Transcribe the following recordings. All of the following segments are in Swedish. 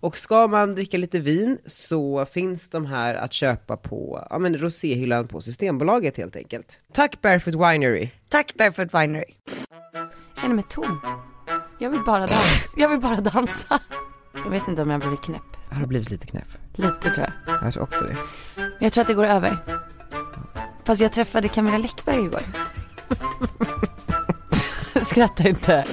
Och ska man dricka lite vin så finns de här att köpa på ja, men roséhyllan på Systembolaget helt enkelt. Tack Barefoot Winery! Tack Barefoot Winery. Jag känner mig tom. Jag vill bara dansa. Jag vill bara dansa. Jag vet inte om jag har blivit knäpp. Jag har blivit lite knäpp. Lite tror jag. Jag tror också det. Men jag tror att det går över. Fast jag träffade Camilla Läckberg igår. Skratta inte.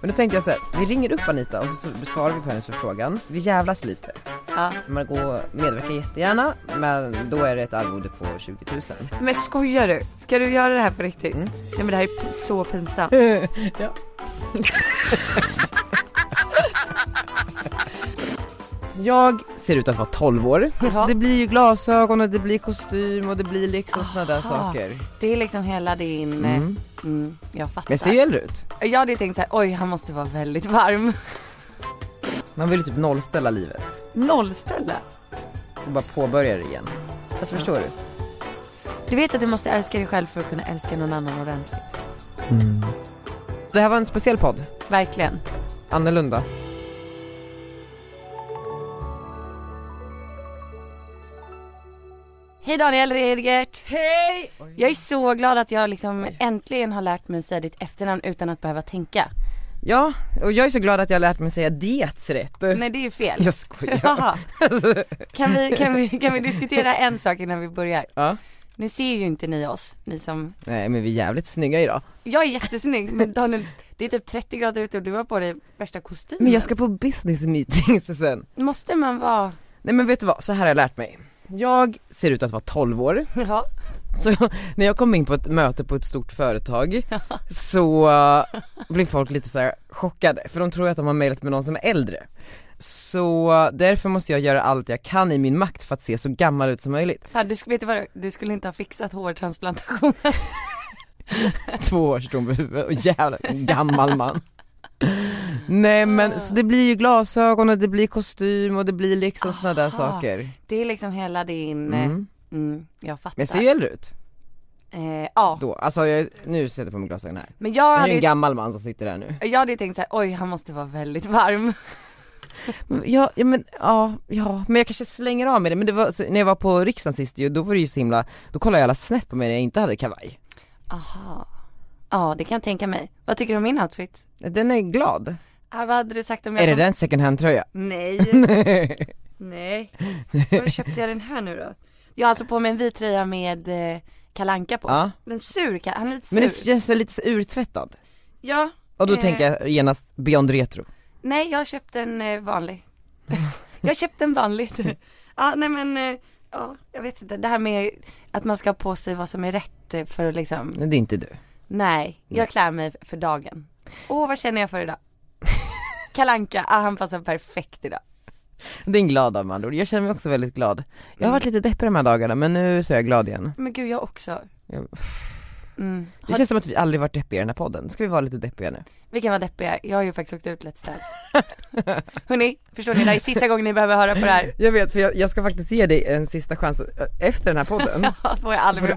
Men då tänkte jag så här, vi ringer upp Anita och så besvarar vi på hennes förfrågan. Vi jävlas lite. Ja. Margot medverkar jättegärna, men då är det ett arvode på 20 000. Men skojar du? Ska du göra det här på riktigt? Nej men det här är p- så pinsamt. Jag ser ut att vara 12 år. Så Jaha. det blir ju glasögon och det blir kostym och det blir liksom sådana där Aha. saker. Det är liksom hela din... Mm. Mm, jag fattar. Men jag ser ju äldre ut. Jag hade tänkt så här, oj han måste vara väldigt varm. Man vill ju typ nollställa livet Nollställa. och bara påbörja det igen. Alltså förstår du? Du vet att du måste älska dig själv för att kunna älska någon annan ordentligt. Det här var en speciell podd. Verkligen. Annorlunda. Hej Daniel Redgert. Hej! Jag är så glad att jag liksom äntligen har lärt mig säga ditt efternamn utan att behöva tänka. Ja, och jag är så glad att jag har lärt mig säga diets rätt. Nej det är ju fel. Jag skojar. Jaha. Alltså, Kan vi, kan, vi, kan vi diskutera en sak innan vi börjar? Ja. Nu ser ju inte ni oss, ni som nej men vi är jävligt snygga idag. Jag är jättesnygg men Daniel, det är typ 30 grader ute och du har på dig värsta kostymen. Men jag ska på business meetings sen. Måste man vara... Nej men vet du vad, så här har jag lärt mig. Jag ser ut att vara 12 år, Ja. så när jag kom in på ett möte på ett stort företag så eh, blev folk lite så här chockade för de tror att de har mejlat med någon som är äldre. Så eh, därför måste jag göra allt jag kan i min makt för att se så gammal ut som möjligt. Fan, du, sk- vet du, vad, du skulle inte ha fixat hårtransplantationen. Två års dom över huvudet och jävlar en gammal man. Nej men så det blir ju glasögon och det blir kostym och det blir liksom såna där Aha. saker. Det är liksom hela din... eh, Mm. Mm, jag fattar. Men jag ser ju äldre ut. eh, ja, då, alltså jag, nu sätter jag på mig glasögonen här. men jag Det här är hade en ju... gammal man som sitter där nu. Jag hade ju tänkt såhär, oj han måste vara väldigt varm. Mm, Ja, ja men, ja, ja, men jag kanske slänger av mig det, men det var, så, när jag var på riksdagen sist ju, då var det ju så himla, då kollade alla snett på mig när jag inte hade kavaj. Aha. Ja, det kan jag tänka mig. Vad tycker du om min outfit? Den är glad. Ah, vad hade du sagt om jag Är det kom- den second hand tröja? Nej. Nej. Var köpte jag den här nu då? Jag har alltså på mig en vit tröja med eh, kalanka på. Ja. Men sur, Ka- han är lite sur. Men den känns lite så urtvättad. Ja, Och då Eh. tänker jag genast beyond retro. nej jag köpte en eh, vanlig. jag köpte en vanlig. ja, nej men, eh, ja, jag vet inte. Det här med att man ska ha på sig vad som är rätt eh, för att liksom, Men det är inte du. nej, Nej. jag klär mig för dagen. Åh, vad känner jag för idag? Kalanka, ah, han passar perfekt idag. Det är en glad dag med andra ord. jag känner mig också väldigt glad. Jag har varit lite deppig de här dagarna men nu så är jag glad igen. Men gud, jag också. Ja. Mm. Det känns som att vi aldrig varit deppiga i den här podden, ska vi vara lite deppiga nu? Vilken var deppig jag är. Jag har ju faktiskt åkt ut Let's Dance. Hörni, förstår ni? Det här är sista gången ni behöver höra på det här. Jag vet för jag, jag ska faktiskt ge dig en sista chans eh, efter den här podden. Ja, får jag så får aldrig. du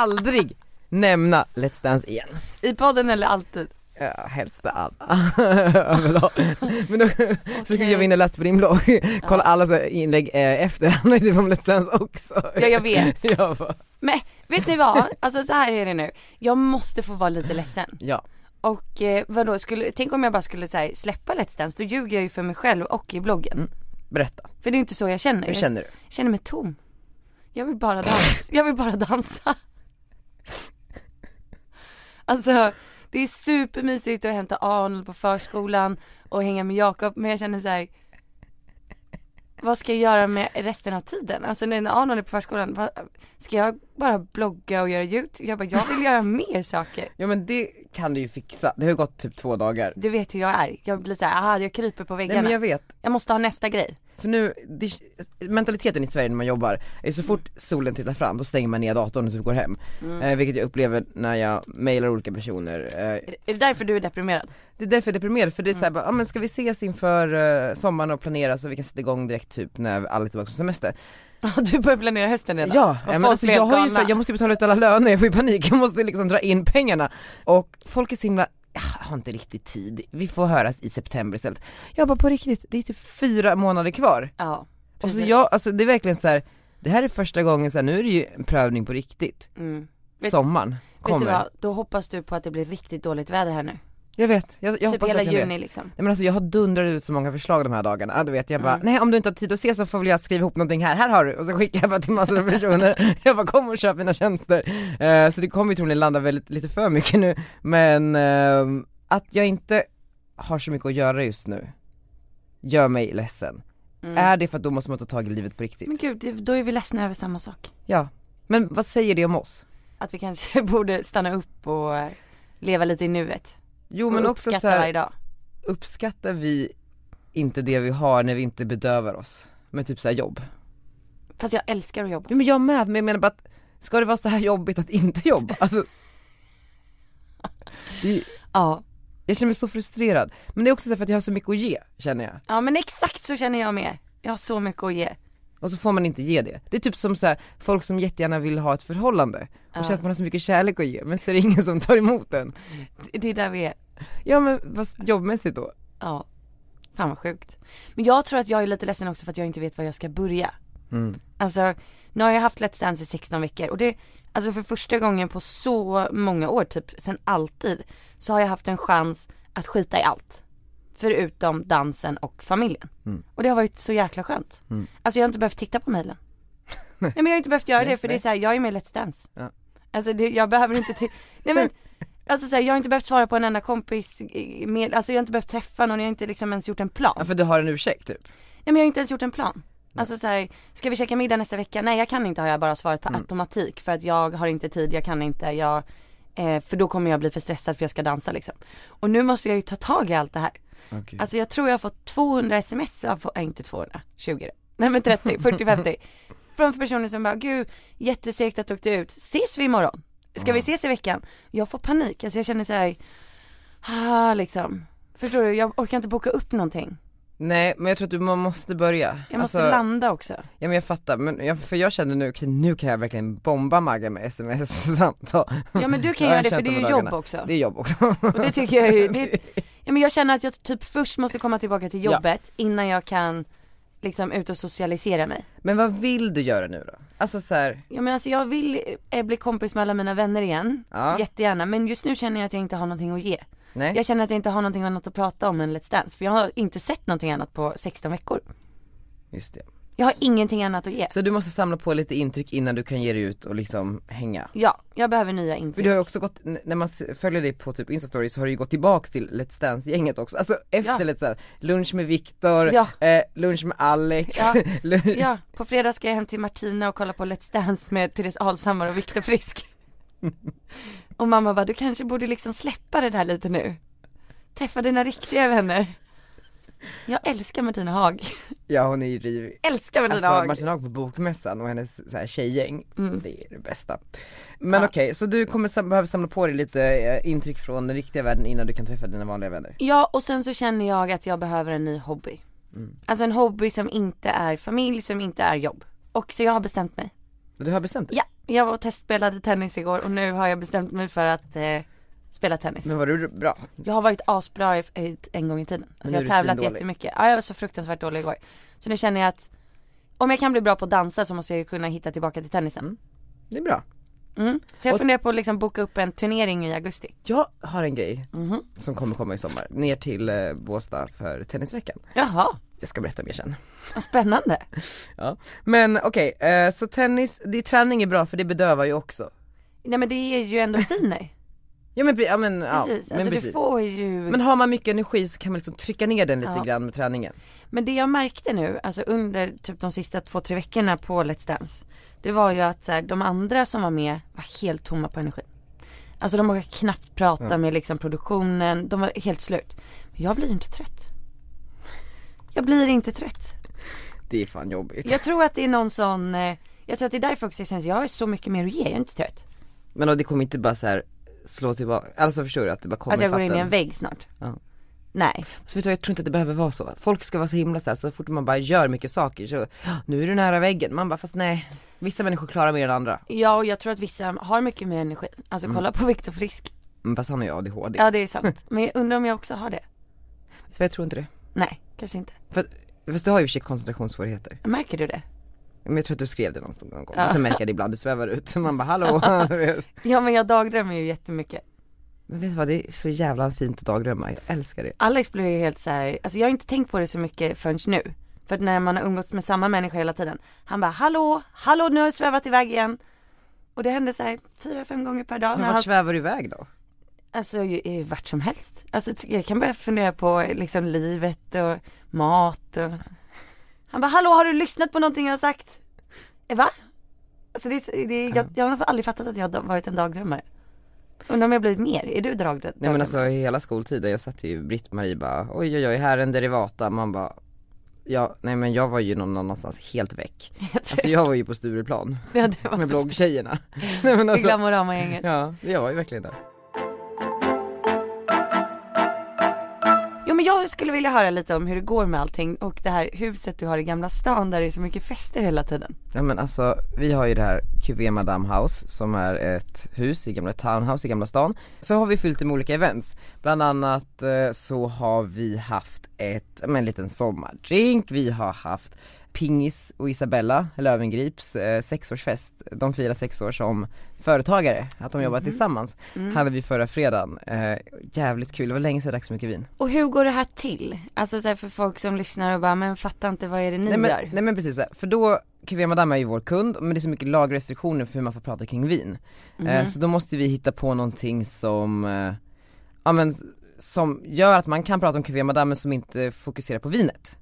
aldrig nämna Let's Dance igen. I podden eller alltid? Ja, helst alla. Överlag. Men då, så gick jag in och läste på din blogg, kolla alla så här inlägg eh, efter, han är typ om Let's Dance också. Ja, jag vet. Jag bara, Men vet ni vad? Alltså så här är det nu. Jag måste få vara lite ledsen. ja. Och eh, vadå, skulle, tänk om jag bara skulle så här, släppa Let's Dance, då ljuger jag ju för mig själv och i bloggen. Berätta, För det är inte så jag känner. hur känner du? Jag känner mig tom. Jag vill bara dansa. Jag vill bara dansa. Alltså, det är supermysigt att hämta Arnold på förskolan och hänga med Jakob men jag känner så här. Vad ska jag göra med resten av tiden? Alltså när Arnold är på förskolan, vad, ska jag bara blogga och göra youtube? Jag bara, jag vill göra mer saker. Ja men det kan du ju fixa, det har ju gått typ två dagar. Du vet hur jag är, jag blir så här, aha jag kryper på Nej väggarna. men jag jag... vet, måste ha nästa grej. För nu, det, mentaliteten i Sverige när man jobbar, är så fort solen tittar fram då stänger man ner datorn och så går hem. Mm. Eh, vilket jag upplever när jag mejlar olika personer. Eh, Är det- Är det därför du är deprimerad? det är därför jag är deprimerad för det är Mm. såhär bara, ah, men ska vi ses inför eh, sommaren och planera så vi kan sätta igång direkt typ när alla är tillbaka på semester. du börjar planera hösten redan. Ja, Och men folk alltså, blir jag har ju galna. så här, jag måste ju betala ut alla löner, jag får ju panik, jag måste liksom dra in pengarna. Och folk är så himla, jag har inte riktigt tid, vi får höras i september istället. Jag bara på riktigt, det är typ fyra månader kvar. Ja. Och så precis. jag, alltså det är verkligen så här. det här är första gången så här, nu är det ju en prövning på riktigt. Mm. Vet- Sommaren kommer. Vet du vad, då hoppas du på att det blir riktigt dåligt väder här nu. Jag vet, jag, jag typ hoppas hela verkligen juni det. liksom. Nej men alltså jag har dundrat ut så många förslag de här dagarna, Ja, du vet jag bara, Mm. nej om du inte har tid att se så får väl jag skriva ihop någonting här, här har du, och så skickar jag bara till massor av personer, jag bara kom och köp mina tjänster. Eh, så det kommer ju troligen landa väldigt, lite för mycket nu, men ehm, att jag inte har så mycket att göra just nu, gör mig ledsen. Mm. Är det för att då måste man ta tag i livet på riktigt? Men gud, det- då är vi ledsna över samma sak. Ja. Men vad säger det om oss? Att vi kanske borde stanna upp och eh, leva lite i nuet. Jo Och men också uppskatta så här, varje dag. uppskattar vi inte det vi har när vi inte bedövar oss med typ så här jobb? Fast jag älskar att jobba. Jo men jag med, men jag menar bara att ska det vara så här jobbigt att inte jobba? Alltså, det, Ja. jag känner mig så frustrerad. Men det är också så här för att jag har så mycket att ge, känner jag. ja, men exakt så känner jag med. Jag har så mycket att ge. Och så får man inte ge det. Det är typ som så här, folk som jättegärna vill ha ett förhållande och Ja. känner att man har så mycket kärlek att ge, men så är det ingen som tar emot den. Det är där vi är. Ja men fast jobbmässigt då. Ja. Fan vad sjukt. Men jag tror att jag är lite ledsen också för att jag inte vet var jag ska börja. Alltså, nu har jag haft Let's Dance i 16 veckor och det, alltså för första gången på så många år, typ sen alltid, så har jag haft en chans att skita i allt. Förutom dansen och familjen. Och det har varit så jäkla skönt. Alltså jag har inte behövt titta på mejlen. nej men jag har inte behövt göra det för det är så här, jag är med i Let's Dance. Ja. Alltså det, jag behöver inte, ti- nej men Alltså så här, jag har inte behövt svara på en enda kompis, eh, med, alltså jag har inte behövt träffa någon, jag har inte liksom ens gjort en plan. Ja för du har en ursäkt typ. Nej men jag har inte ens gjort en plan. Alltså så här, ska vi käka middag nästa vecka? Nej jag kan inte har jag bara svarat på automatik för att jag har inte tid, jag kan inte, jag, eh, för då kommer jag bli för stressad för jag ska dansa liksom. Och nu måste jag ju ta tag i allt det här. Okay. Alltså jag tror jag har fått 200 sms, av, nej inte 200, 20 då. Nej men 30, 40, 50. Från personer som bara, gud jättesegt att du åkte ut, ses vi imorgon? Ska vi ses i veckan? Jag får panik, alltså jag känner så här, ah, liksom. Förstår du, jag orkar inte boka upp någonting. Nej men jag tror att du, man måste börja. Jag måste Alltså, landa också. Ja men jag fattar, men jag, för jag kände nu, okej, nu kan jag verkligen bomba Maggan med sms-samtal. Ja men du kan Ja, jag göra det för känt det är de ju dagarna. jobb också. Det är jobb också. Och det tycker jag ju, det, ja, men jag känner att jag typ först måste komma tillbaka till Ja. jobbet innan jag kan liksom ut och socialisera mig. Men vad vill du göra nu då? Alltså så här, Ja men alltså jag vill eh, bli kompis med alla mina vänner igen, Ja. jättegärna. Men just nu känner jag att jag inte har någonting att ge. nej? Jag känner att jag inte har någonting annat att prata om än Let's Dance. För jag har inte sett någonting annat på 16 veckor. Just det. Jag har ingenting annat att ge. Så du måste samla på lite intryck innan du kan ge dig ut och liksom hänga. Ja, jag behöver nya För du intryck. har ju också gått, n- när man s- följer dig på typ instastory så har du ju gått tillbaks till Let's Dance-gänget också, alltså efter Let's Dance, lunch med Viktor, Ja. eh, lunch med Alex, Ja. lunch- Ja, på fredag ska jag hem till Martina och kolla på Let's Dance med Therese Alshammar och Viktor Frisk. Och mamma bara, du kanske borde liksom släppa det där lite nu. Träffa dina riktiga vänner. Jag älskar Martina Haag. ja hon är ju rivig. Älskar Martina Alltså Haag. Martina Haag på bokmässan och hennes så här, tjejgäng, det är det bästa. Men Mm. Ja. okej, så du kommer sam- behöva samla på dig lite eh, intryck från den riktiga världen innan du kan träffa dina vanliga vänner. Ja och sen så känner jag att jag behöver en ny hobby. Mm. Alltså en hobby som inte är familj, som inte är jobb. Och så jag har bestämt mig. Du har bestämt dig? Ja, jag var och testspelade tennis igår och nu har jag bestämt mig för att eh, spela tennis. Men var du bra? Jag har varit asbra i, i, en gång i tiden. Men Alltså nu jag är har du tävlat svindålig. jättemycket. Ja, jag var så fruktansvärt dålig igår. Så nu känner jag att om jag kan bli bra på att dansa så måste jag ju kunna hitta tillbaka till tennisen. Det är bra. Mm. Så jag Och- funderar på att liksom boka upp en turnering i augusti. Jag har en grej Mhm. som kommer komma i sommar, ner till eh, Båstad för tennisveckan. Jaha, Jag ska berätta mer sen. vad spännande. Ja. Men okej, eh, så tennis, det, träning är bra för det bedövar ju också. Nej men det är ju endorfiner. Ja men, pre- ja, men, ja, precis, men alltså du precis. får ju Men har man mycket energi så kan man liksom trycka ner den lite Ja. grann med träningen. Men det jag märkte nu, alltså under typ de sista två, tre veckorna på Let's Dance Det var ju att så här, de andra som var med var helt tomma på energi Alltså de vågade knappt prata med liksom produktionen, de var helt slut Men jag blir ju inte trött Jag blir inte trött Det är fan jobbigt. Jag tror att det är någon sån, eh, jag tror att det är därför också jag känner att jag har så mycket mer att ge, jag är inte trött Men och det kommer inte bara så här slå tillbaka, alltså förstår du att det bara kommer Att jag går in i fatten. en vägg snart Ja. Nej, Så vet du vad, jag tror inte att det behöver vara så. Folk ska vara så himla så här, så fort man bara gör mycket saker så, "Ah, nu är du nära väggen. Man bara, fast nej, vissa människor klarar mer än andra. ja och jag tror att vissa har mycket mer energi Alltså kolla på Viktor Frisk Men fast han har ju ADHD. Ja det är sant, men jag undrar om jag också har det? Så jag tror inte det. Nej, kanske inte För, att- fast du har ju i och för sig koncentrationssvårigheter. Märker du det? Men jag tror att du skrev det någonstans någon gång. Ja. Och så märker jag det ibland, du svävar ut. Man bara, hallå. Ja men jag dagdrömmer ju jättemycket. Men vet du vad, det är så jävla fint att dagdrömma. Jag älskar det. Alex blev ju helt så här, alltså jag har inte tänkt på det så mycket förrän nu. För att när man har umgåtts med samma människa hela tiden, han bara hallå, hallå nu har jag svävat iväg igen. Och det hände så här fyra, fem gånger per dag. Men När vart han, svävar du iväg då? alltså ju- ju vart som helst. Alltså t- jag kan börja fundera på liksom livet och mat och. Han bara hallå har du lyssnat på någonting jag har sagt? Eh, Va? Alltså det, är så- det, är- jag, jag har aldrig fattat att jag har varit en dagdrömmare. Undrar om jag blivit mer, är du dagdrömmare? Nej men alltså hela skoltiden, jag satt ju Britt-Marie bara oj oj oj här är en derivata, man bara Ja, nej men jag var ju någon annanstans helt väck. Alltså jag var ju på Stureplan typ. Ja, det var med med bloggtjejerna. Nej men Det alltså, Glamorama-gänget. ja jag var ju verkligen där. Jo men jag skulle vilja höra lite om hur det går med allting och det här huset du har i Gamla stan där det är så mycket fester hela tiden. Ja men alltså vi har ju det här QV Madame House som är ett hus i gamla townhouse i Gamla stan. Så har vi fyllt det med olika events. Bland annat eh, så har vi haft ett, ja, men en liten sommardrink, vi har haft Pingis och Isabella Lövengrips eh, sexårsfest, de firar sex år som företagare, att de jobbar tillsammans, hade vi förra fredagen. Eh, jävligt kul, det var länge sedan jag drack så mycket vin. Och hur går det här till? Alltså så här för folk som lyssnar och bara men fattar inte vad är det ni nej, gör? men, nej men precis, så här. för då, QV Madame är ju vår kund, men det är så mycket lagrestriktioner för hur man får prata kring vin. Eh, så då måste vi hitta på någonting som, eh, ja men som gör att man kan prata om QV Madame men som inte fokuserar på vinet.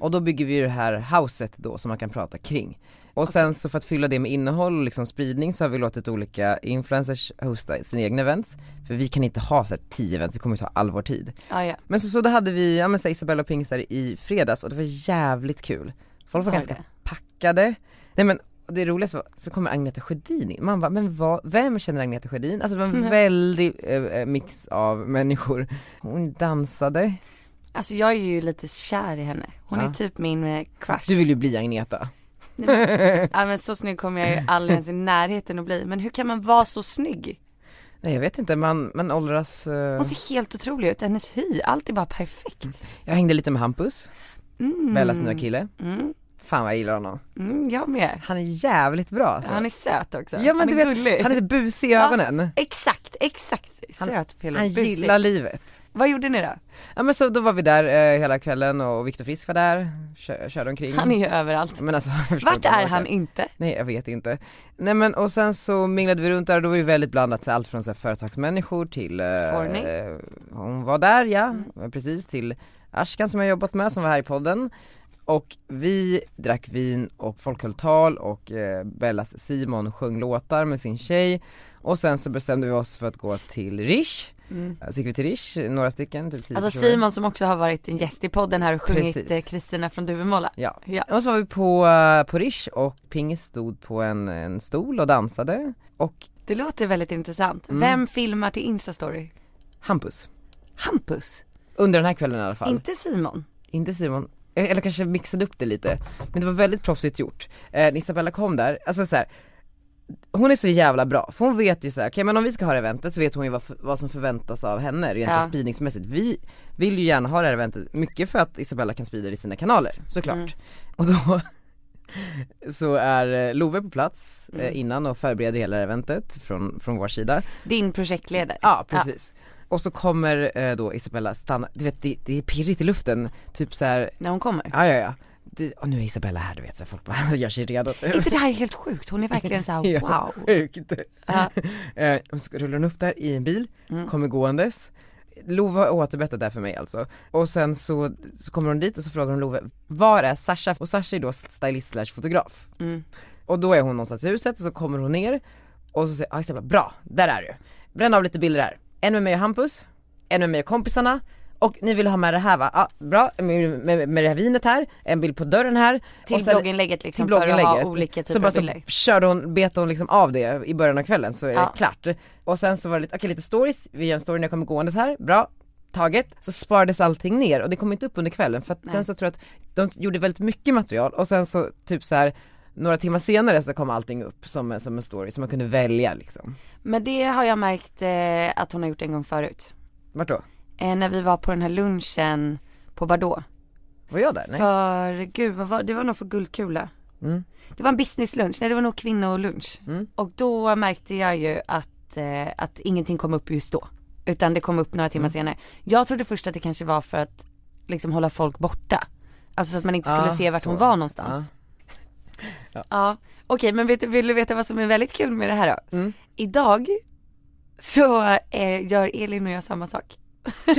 Och då bygger vi ju det här houset då som man kan prata kring. Och sen så för att fylla det med innehåll och liksom spridning så har vi låtit olika influencers hosta sina egna events. För vi kan inte ha så här 10 events, det kommer ju ta all vår tid. Ja, ja. Men så, så då hade vi, ja men så här, Isabella och Pingstar i fredags och det var jävligt kul. Folk var Oj, ganska det. packade. Nej men och det roligaste var, så kommer Agneta Sjödin in. Man bara, men vad, vem känner Agneta Sjödin? Alltså det var en väldig eh, eh, mix av människor. Hon dansade. Alltså jag är ju lite kär i henne. Hon Ja. är typ min eh, crush. Du vill ju bli Agneta. Ja men så snygg kommer jag ju aldrig ens i närheten att bli. Men hur kan man vara så snygg? Nej jag vet inte, man, man åldras. Eh... Hon ser helt otrolig ut, hennes hy, allt är bara perfekt. Jag hängde lite med Hampus, Mm. Bellas nya kille. Mm, Fan vad jag gillar honom. mm, jag med. Han är jävligt bra alltså. Han är söt också. ja, men han du är vet, gullig. Han är så busig i Ja. ögonen. Exakt, exakt. Han- Söt Pelle. Han Busig. gillar livet. Vad gjorde ni då? Ja men så då var vi där eh, hela kvällen och Viktor Frisk var där, kö- körde omkring. Han är ju överallt. men alltså, jag förstår Vart inte vad är orkar. han inte? Nej jag vet inte. Nej men och sen så minglade vi runt där och då var vi väldigt blandat, så allt från så här, företagsmänniskor till... eh, Forni. eh, hon var där ja, Mm. precis, till Ashkan som jag jobbat med som var här i podden. Och vi drack vin och folk höll tal och eh, Bellas Simon sjöng låtar med sin tjej. Och sen så bestämde vi oss för att gå till Rish. Så gick vi till Rish, några stycken, typ tio Mm. Alltså personer. Simon som också har varit en gäst i podden här och sjungit Precis. eh, Kristina från Duvemåla. Ja. Ja. Och så var vi på, eh, på Rish och Pingis stod på en, en stol och dansade och Det låter väldigt intressant. Mm. Vem filmar till Instastory? Hampus. Hampus, Under den här kvällen i alla fall. inte Simon. Inte Simon. Eh, Eller kanske mixade upp det lite. Men det var väldigt proffsigt gjort. Eh, när Isabella kom där, alltså så här. Hon är så jävla bra, för hon vet ju så här, okej men om vi ska ha det här eventet så vet hon ju vad, vad som förväntas av henne rent Ja. spridningsmässigt. Vi vill ju gärna ha det här eventet, mycket för att Isabella kan sprida det i sina kanaler såklart. Och då så är eh, Love på plats eh, innan och förbereder hela det här eventet från, från vår sida. Din projektledare. Ja precis. Och så kommer eh, då Isabella stanna, du vet det, det är pirrigt i luften, typ så här När hon kommer. Ja, ja, ja. det, och nu är Isabella här du vet så folk bara gör sig redo inte det här är helt sjukt? Hon är verkligen så här, Ja, wow. Sjukt. Ja. Eh, och så rullar hon upp där i en bil, Mm. kommer gåendes. Love har återberättat det här för mig alltså. Och sen så, så kommer hon dit och så frågar hon Love, var är Sasha? Och Sasha är då stylist slash fotograf. Mm. Och då är hon någonstans i huset och så kommer hon ner och så säger ah, Isabella, bra, där är du. Bränn av lite bilder här. En med mig och Hampus, en med mig och kompisarna och ni vill ha med det här va? Ah, bra, med, med, med det här vinet här, en bild på dörren här. Och Till sen- blogginlägget liksom till för att blogginlägget. ha olika så typer bara av så bilder. körde hon, bet hon liksom av det i början av kvällen så är Ja. det klart. Och sen så var det lite, okej lite stories, vi gör en story när jag kommer gåendes här, bra, taget. Så sparades allting ner och det kom inte upp under kvällen för att Nej. sen så tror jag att de gjorde väldigt mycket material och sen så typ så här några timmar senare så kom allting upp som, en- som en story som man kunde välja liksom. Men det har jag märkt eh, att hon har gjort en gång förut. Vart då? Eh, när vi var på den här lunchen på Bardot. Var jag där? Nej? För, gud vad var det? var nog för Guldkula. Mm. Det var en businesslunch, nej det var nog kvinnolunch. Mm. Och då märkte jag ju att, eh, att ingenting kom upp just då. Utan det kom upp några Mm. timmar senare. Jag trodde först att det kanske var för att liksom hålla folk borta. Alltså så att man inte skulle Ah, se vart hon så. Ah. var någonstans. Ja. Ja. Okej men vet, vill du veta vad som är väldigt kul med det här då? Mm. Idag så eh, gör Elin och jag samma sak. Jag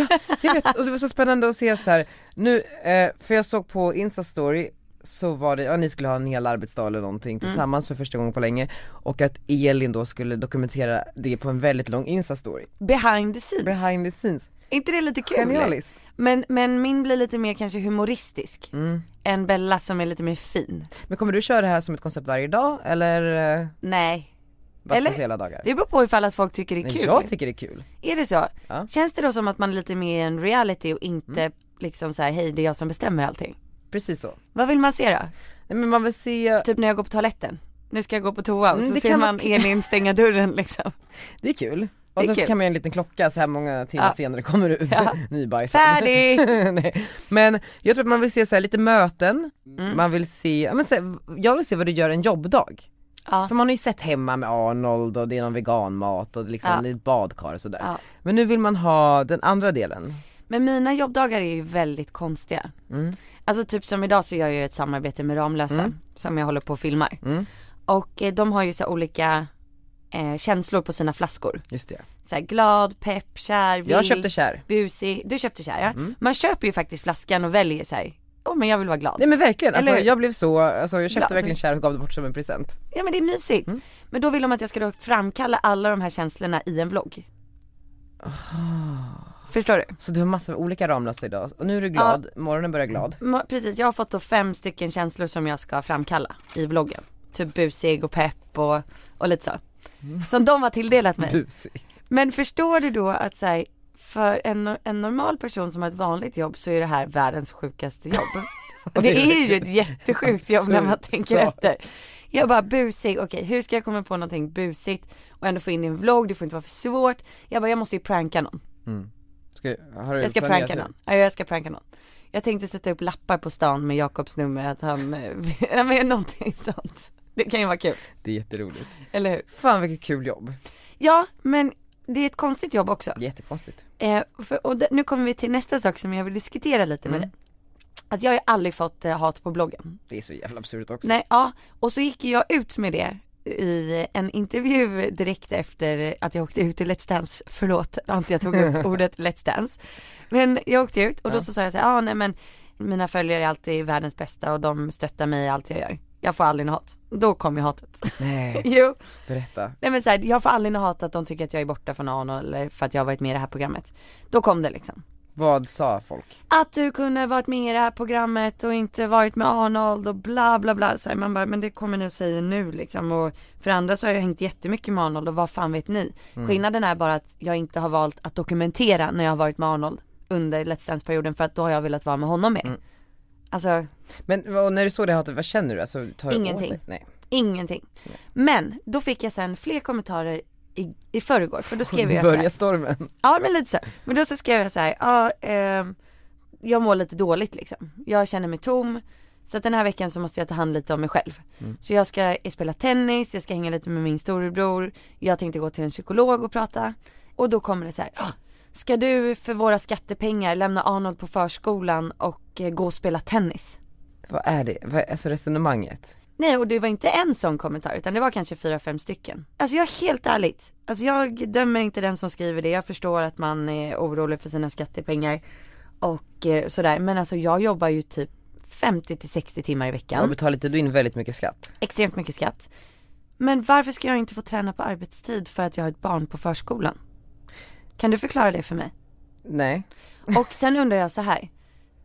vet, och det var så spännande att se så här. nu, eh, för jag såg på Insta-story så var det, ja ni skulle ha en hel arbetsdag eller Mm. någonting tillsammans för första gången på länge och att Elin då skulle dokumentera det på en väldigt lång Insta-story, Behind the scenes. behind the scenes, Är inte det lite kul? genialiskt! Men, men min blir lite mer kanske humoristisk. Mm. än Bella som är lite mer fin. Men kommer du köra det här som ett koncept varje dag eller eh, Nej, bara Eller- speciella dagar? det beror på ifall att folk tycker det är Men kul. jag tycker det är kul, Är det så? Ja. Mm. Känns det då som att man är lite mer i en reality och inte liksom så här, hej det är jag som bestämmer allting? precis så. Vad vill man se då? Nej men man vill se, Typ när jag går på toaletten. Nu ska jag gå på toa och Mm, så det ser kan man vara- Elin stänga dörren liksom. det är kul. Det Och är sen så kul. kan man göra en liten klocka så här många timmar Ja. senare kommer det ut Ja. nybajsad. Färdig! Nej. Men jag tror att man vill se så här lite möten, Mm. man vill se, ja, men så här, jag vill se vad du gör en jobbdag. Ja. För man har ju sett hemma med Arnold och det är någon veganmat och liksom Ja. i ett badkar och sådär. Ja. Men nu vill man ha den andra delen. Men mina jobbdagar är ju väldigt konstiga. Mm. Alltså typ som idag så gör jag ju ett samarbete med Ramlösa som jag håller på och filmar. Mm. Och eh, de har ju så här olika eh, känslor på sina flaskor. Just det. Så här glad, pepp, kär, vild. Jag köpte Mm. kär. busig, du köpte så här, ja. Man köper ju faktiskt flaskan och väljer så här. åh men jag vill vara glad. Nej men verkligen, alltså, Eller hur? jag blev så, alltså, jag köpte Glad. verkligen kär och gav det bort som en present. Ja men det är mysigt. Mm. Men då vill de att jag ska då framkalla alla de här känslorna i en vlogg. Förstår du? Så du har massor av olika Ramlösa idag och nu är du glad, morgonen börjar glad. Ma- Precis, jag har fått då fem stycken känslor som jag ska framkalla i vloggen. Typ busig och pepp och, och lite så. Som de har tilldelat mig. Busig. Men förstår du då att så här, för en, en normal person som har ett vanligt jobb så är det här världens sjukaste jobb. det är ju ett jättesjukt jobb när man Absurd tänker sak. efter. Jag bara busig, okej hur ska jag komma på någonting busigt och ändå få in i en vlogg, det får inte vara för svårt. Jag bara jag måste ju pranka någon. Mm. Ska, har du Jag ska planerat pranka det? någon. Ja jag ska pranka någon. Jag tänkte sätta upp lappar på stan med Jakobs nummer att han, eh, nej men någonting sånt. Det kan ju vara kul, Det är jätteroligt. eller hur? Fan vilket kul jobb. Ja men det är ett konstigt jobb också. Jättekonstigt. Eh, för, och det, nu kommer vi till nästa sak som jag vill diskutera lite Mm. med dig. Att jag har ju aldrig fått eh, hat på bloggen. Det är så jävla absurt också. Nej, ja. Och så gick jag ut med det i en intervju direkt efter att jag åkte ut i Let's Dance. Förlåt att jag tog upp ordet Let's Dance. Men jag åkte ut och då Ja. så sa jag så här, ah, nej men mina följare är alltid världens bästa och de stöttar mig i allt jag gör. Jag får aldrig något hat. Då kom ju hatet. Nej, jo. berätta. Nej men så här, jag får aldrig något hat att de tycker att jag är borta från Arno eller för att jag har varit med i det här programmet. Då kom det liksom. Vad sa folk? att du kunde varit med i det här programmet och inte varit med Arnold och bla bla bla så här, man bara, men det kommer nu säga nu liksom och för andra så har jag hängt jättemycket med Arnold och vad fan vet ni? Skillnaden är bara att jag inte har valt att dokumentera när jag har varit med Arnold under Let's Dance-perioden för att då har jag velat vara med honom mer. Alltså Men och när du såg det hatet, vad känner du? Alltså, tar du åt Ingenting. dig? Nej. ingenting. Men då fick jag sen fler kommentarer i, i förrgår för då skrev jag så här, Börja stormen. Ja men lite så. Men då så skrev jag så här, ja ehm, jag mår lite dåligt liksom. Jag känner mig tom. Så att den här veckan så måste jag ta hand lite om mig själv. Så jag ska spela tennis, jag ska hänga lite med min storebror. Jag tänkte gå till en psykolog och prata. Och då kommer det så här, "Ah, ska du för våra skattepengar lämna Arnold på förskolan och eh, gå och spela tennis? Vad är det? Vad, alltså resonemanget? Nej och det var inte en sån kommentar utan det var kanske fyra, fem stycken. Alltså jag är helt ärligt, alltså jag dömer inte den som skriver det, jag förstår att man är orolig för sina skattepengar och eh, sådär men alltså jag jobbar ju typ 50 till 60 timmar i Då veckan, betalar inte du in väldigt mycket skatt? extremt mycket skatt. Men varför ska jag inte få träna på arbetstid för att jag har ett barn på förskolan? Kan du förklara det för mig? Nej. Och sen undrar jag så här.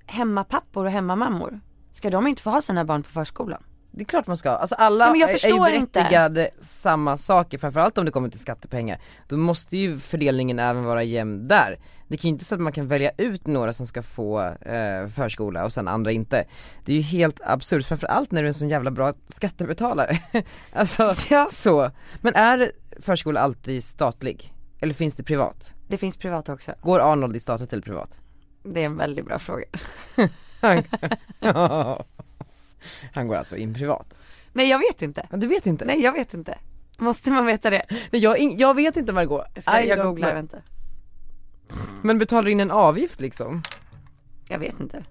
hemmapappor och hemmamammor, ska de inte få ha sina barn på förskolan? Det är klart man ska, alltså alla Ja, men jag är- är ju förstår inte. berättigade samma saker, framförallt om det kommer till skattepengar. Då måste ju fördelningen även vara jämn där. Det kan ju inte så att man kan välja ut några som ska få eh, förskola och sen andra inte. Det är ju helt absurt, framförallt när du är en sån jävla bra skattebetalare. alltså Ja. så. Men är förskola alltid statlig? Eller finns det privat? Det finns privat också. Går Arnold i statligt eller privat? Det är en väldigt bra fråga. Han går alltså in privat. Nej jag vet inte. Ja, du vet inte? Nej jag vet inte. Måste man veta det? Nej, jag, har ing- jag vet inte Margot. Ska I jag don't googlar, know. vänta. Men betalar du in en avgift liksom? Jag vet inte.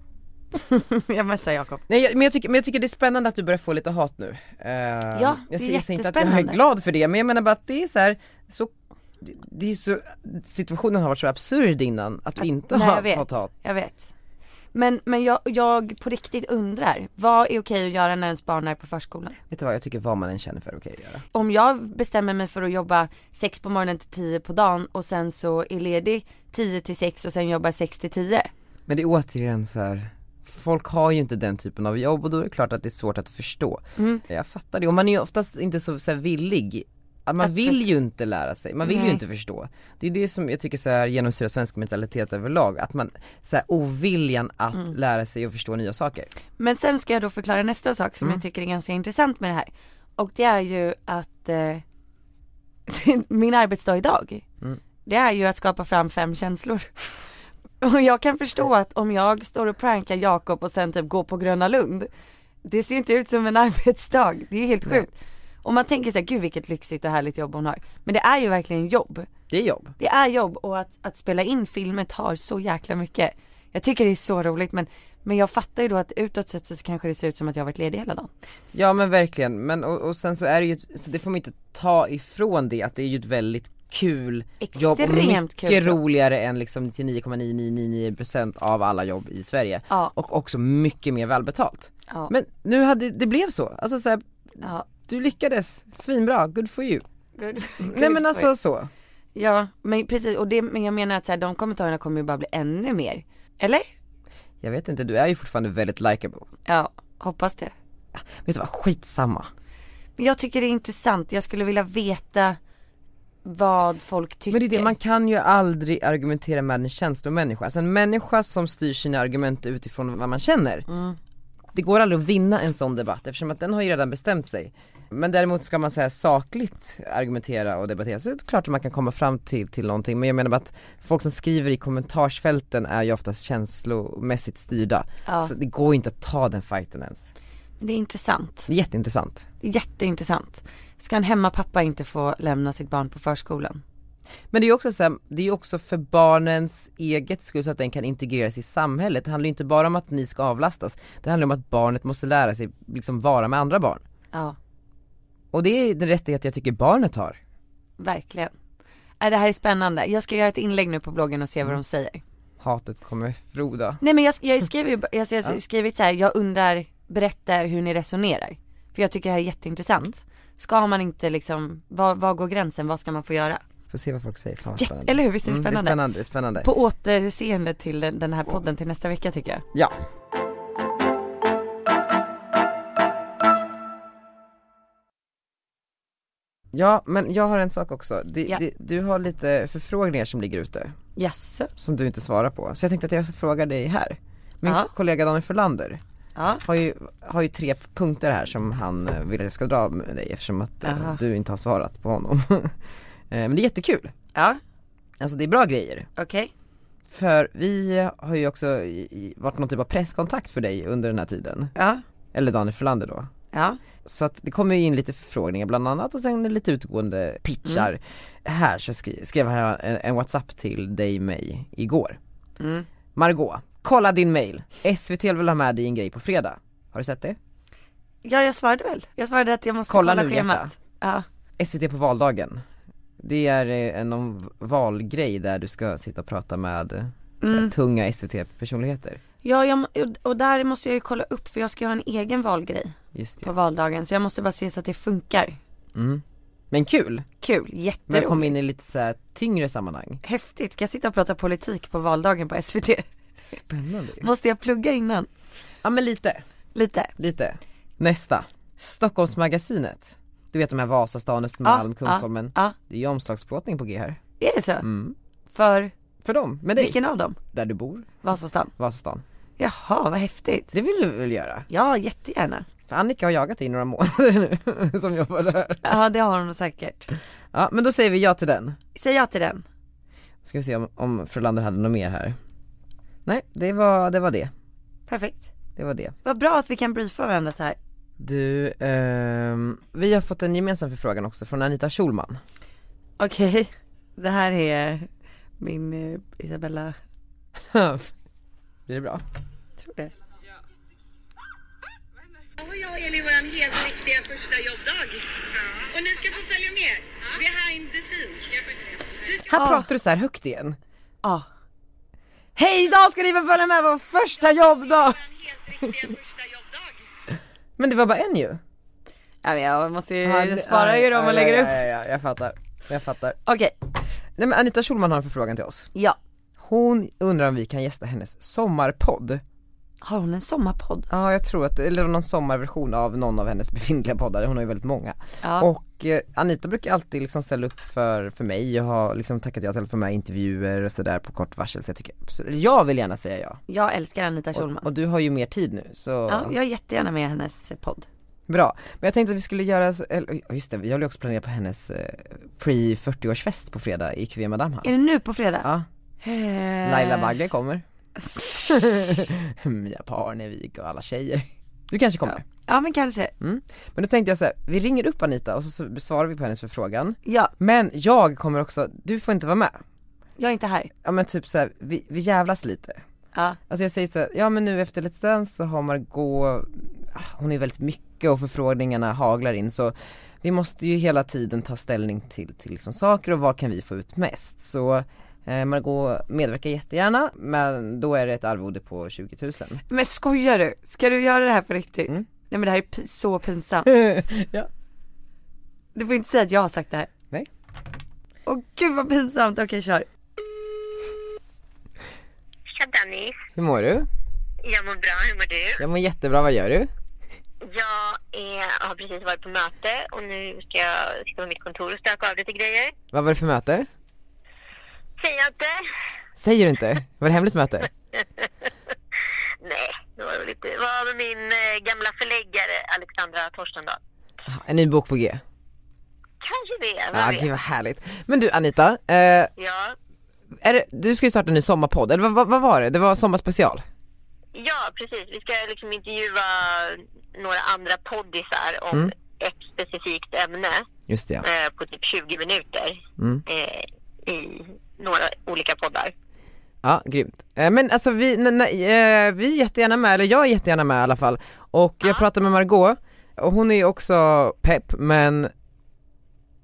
jag messar Jakob. Nej jag, men, jag tycker, men jag tycker det är spännande att du börjar få lite hat nu. Eh, jag, det är säger- jag säger inte att jag är jättespännande. glad för det men jag menar bara att det är så här, så det- det är så, situationen har varit så absurd innan att vi inte Nej, har jag vet. fått hat. Jag vet. Men, men jag, jag på riktigt undrar, vad är okej att göra när ens barn är på förskolan? Vet du vad, jag tycker vad man än känner för är okej att göra. Om jag bestämmer mig för att jobba 6 på morgonen till 10 på dagen och sen så är ledig 10 till 6 och sen jobbar 6 till 10. Men det är återigen så här. Folk har ju inte den typen av jobb och då är det klart att det är svårt att förstå. Jag fattar det, och man är ju oftast inte så, så här, villig. Att man Att vill ju inte lära sig, man vill ju Nej. inte förstå. Det är det som jag tycker så här genomsyrar svensk mentalitet överlag, att man, så här, oviljan att lära sig och förstå nya saker. Men sen ska jag då förklara nästa sak som jag tycker är ganska intressant med det här. Och det är ju att eh, min arbetsdag idag, det är ju att skapa fram fem känslor. Och jag kan förstå att om jag står och prankar Jakob och sen typ går på Gröna Lund, det ser inte ut som en arbetsdag, det är ju helt sjukt. Och man tänker så här, gud vilket lyxigt och härligt jobb hon har. Men det är ju verkligen jobb. Det är jobb. Det är jobb och att, att spela in filmen tar så jäkla mycket. Jag tycker det är så roligt men, men jag fattar ju då att utåt sett så kanske det ser ut som att jag har varit ledig hela dagen. Ja men verkligen, men och, och sen så är det ju, ett- så det får man inte ta ifrån det att det är ju ett väldigt kul jobb och Extremt mycket kul jobb. roligare än liksom 99,999% av alla jobb i Sverige. Ja. Och också mycket mer välbetalt. Ja. Men nu hade, det blev så, alltså så här, Ja. du lyckades, svinbra, good for you. Good. Nej men alltså så. Ja men precis och det, men jag menar att så här, de kommentarerna kommer ju bara bli ännu mer. Eller? Jag vet inte, du är ju fortfarande väldigt likable. Ja, hoppas det. Vet du vad, skitsamma. Men jag tycker det är intressant, jag skulle vilja veta vad folk tycker. Men det är det, man kan ju aldrig argumentera med en känslomänniska, alltså en människa som styr sina argument utifrån vad man känner Det går aldrig att vinna en sån debatt eftersom att den har ju redan bestämt sig Men däremot ska man säga sakligt argumentera och debattera så är det klart att man kan komma fram till, till någonting men jag menar bara att folk som skriver i kommentarsfälten är ju oftast känslomässigt styrda Ja. Så det går ju inte att ta den fighten ens Det är intressant, Det är jätteintressant Det är jätteintressant. Ska en hemmapappa inte få lämna sitt barn på förskolan? Men det är ju också så här, det är ju också för barnens eget skull så att den kan integreras i samhället. Det handlar ju inte bara om att ni ska avlastas. Det handlar om att barnet måste lära sig liksom vara med andra barn. Ja. Och det är den rättighet jag tycker barnet har. Verkligen. Äh, det här är spännande. Jag ska göra ett inlägg nu på bloggen och se vad de säger. Hatet kommer froda. Nej men jag, jag skriver ju, jag, jag har skrivit så här, jag undrar, berätta hur ni resonerar. För jag tycker det här är jätteintressant. Ska man inte liksom, vad, vad går gränsen, vad ska man få göra? Får se vad folk säger, fan vad Jätte- spännande. eller hur? Visst är det Mm, det spännande? är spännande, det är spännande. På återseende till den, den här podden till nästa vecka tycker jag. Ja. Ja men jag har en sak också. Det, Ja. det, du har lite förfrågningar som ligger ute. Yes. som du inte svarar på. Så jag tänkte att jag frågar dig här. Min Ja. kollega Daniel Frölander Ja. har ju, har ju tre punkter här som han eh, vill att jag ska dra med dig eftersom att eh, Aha. du inte har svarat på honom. Eh, Men det är jättekul. Ja, Alltså det är bra grejer. okej. För vi har ju också i- i- varit någon typ av presskontakt för dig under den här tiden. Ja. Eller Daniel Frölander då. Ja. Så att det kommer ju in lite förfrågningar bland annat och sen lite utgående pitchar. Mm. Här så skri- skrev han en, en WhatsApp till dig mig igår. Mm. Margot, kolla din mail. SVT vill ha med dig i en grej på fredag. Har du sett det? Ja jag svarade väl, jag svarade att jag måste Kolla kolla, nu, schemat. Ja. SVT på valdagen. Det är eh, en någon valgrej där du ska sitta och prata med eh, så här, Mm. tunga SVT-personligheter. Ja, jag, må- och där måste jag ju kolla upp för jag ska ju ha en egen valgrej Just på det. valdagen så jag måste bara se så att det funkar. Mm. Men kul! Kul, Men jätteroligt. kom in i lite så här tyngre sammanhang. Häftigt, ska jag sitta och prata politik på valdagen på SVT? Spännande. Måste jag plugga innan? Ja men lite, Lite. lite. Nästa. Stockholmsmagasinet. Du vet de här Vasastan, Östermalm, Kungsholmen. Ja, Det är ju omslagsplåtning på G här. ja. är det så? Mm. För För dem, med dig, vilken av dem? där du bor, Vasastan? Vasastan. Jaha, vad häftigt. Det vill du väl göra? Ja, jättegärna. För Annika har jagat dig i några månader nu, som jobbar där. Ja, det har hon säkert. Ja men då säger vi ja till den. Säg ja till den. Ska vi se om, om Frölander hade något mer här. Nej, det var, det var det. Perfekt. Det var det. Vad bra att vi kan briefa varandra så här. Du, ehm, vi har fått en gemensam förfrågan också från Anita Schulman. Okej, det här är min eh, Isabella, Blir det bra? tror det. Då har jag och Elin vår helt riktiga första jobbdag. Och ni ska få följa med behind the scenes. Du ska Här Ah. pratar du så här högt igen. Ja. Hej idag ska ni få följa med vår första jobbdag! få vår helt riktiga första jobbdag. Men det var bara en ju. Ja, men jag måste ju, jag sparar ju dem och lägger upp. Ja, ja, ja, jag fattar. Jag fattar. Okej, Nej men Anita Schulman har en förfrågan till oss. ja. Hon undrar om vi kan gästa hennes sommarpodd. Har hon en sommarpodd? Ja jag tror att, eller någon sommarversion av någon av hennes befintliga poddar, hon har ju väldigt många. Ja. Och eh, Anita brukar alltid liksom ställa upp för, för mig och har liksom tackat ja till att få med intervjuer och sådär på kort varsel så jag tycker, så jag vill gärna säga ja. Jag älskar Anita Schulman. Och, och du har ju mer tid nu så ja, jag är jättegärna med i hennes podd. Bra, men jag tänkte att vi skulle göra, så- eller ja, just det, vi håller ju också planerat på hennes eh, pre-40-årsfest på fredag i Café Madame Är här. det nu på fredag? Ja, Eh, Laila Bagge kommer, Mia Parnevik och alla tjejer. Du kanske kommer. Ja men kanske. Men då tänkte jag så här, vi ringer upp Anita och så så svarar vi på hennes förfrågan. Ja, Men jag kommer också, du får inte vara med. jag är inte här. Ja men typ så här, vi, vi jävlas lite. Ja, Alltså jag säger så här, ja men nu efter Let's Dance så har Margot, ah, hon är väldigt mycket och förfrågningarna haglar in så vi måste ju hela tiden ta ställning till, till liksom saker och vad kan vi få ut mest. Så eh, Margot medverkar jättegärna men då är det ett arvode på 20 000. men skojar du? Ska du göra det här på riktigt? Mm. Nej men det här är pi- så pinsamt. ja. Du får inte säga att jag har sagt det här. Nej. Åh gud vad pinsamt, okej kör. Tja Danny. Hur mår du? Jag mår bra, hur mår du? Jag mår jättebra, vad gör du? Jag är, har precis varit på möte och nu ska jag sitta på mitt kontor och stöka av lite grejer. Vad var det för möte? Säger jag inte? Säger du inte? Var det hemligt möte? Nej, det var roligt. Det var med min eh, gamla förläggare Alexandra Torstendal. Ah, En ny bok på G? Kanske det, Ja, ah, vad gud vet vad härligt. Men du Anita, eh, Ja, är det, du ska ju starta en ny sommarpodd, eller vad, vad, vad var det? Det var sommarspecial? Ja, precis. Vi ska liksom intervjua några andra poddisar om Mm. ett specifikt ämne Just det ja. eh, på typ 20 minuter Mm. eh, i några olika poddar. Ja, grymt. Eh, Men alltså vi, n- n- eh, vi är jättegärna med, eller jag är jättegärna med i alla fall. Och jag pratade med Margot och hon är ju också pepp men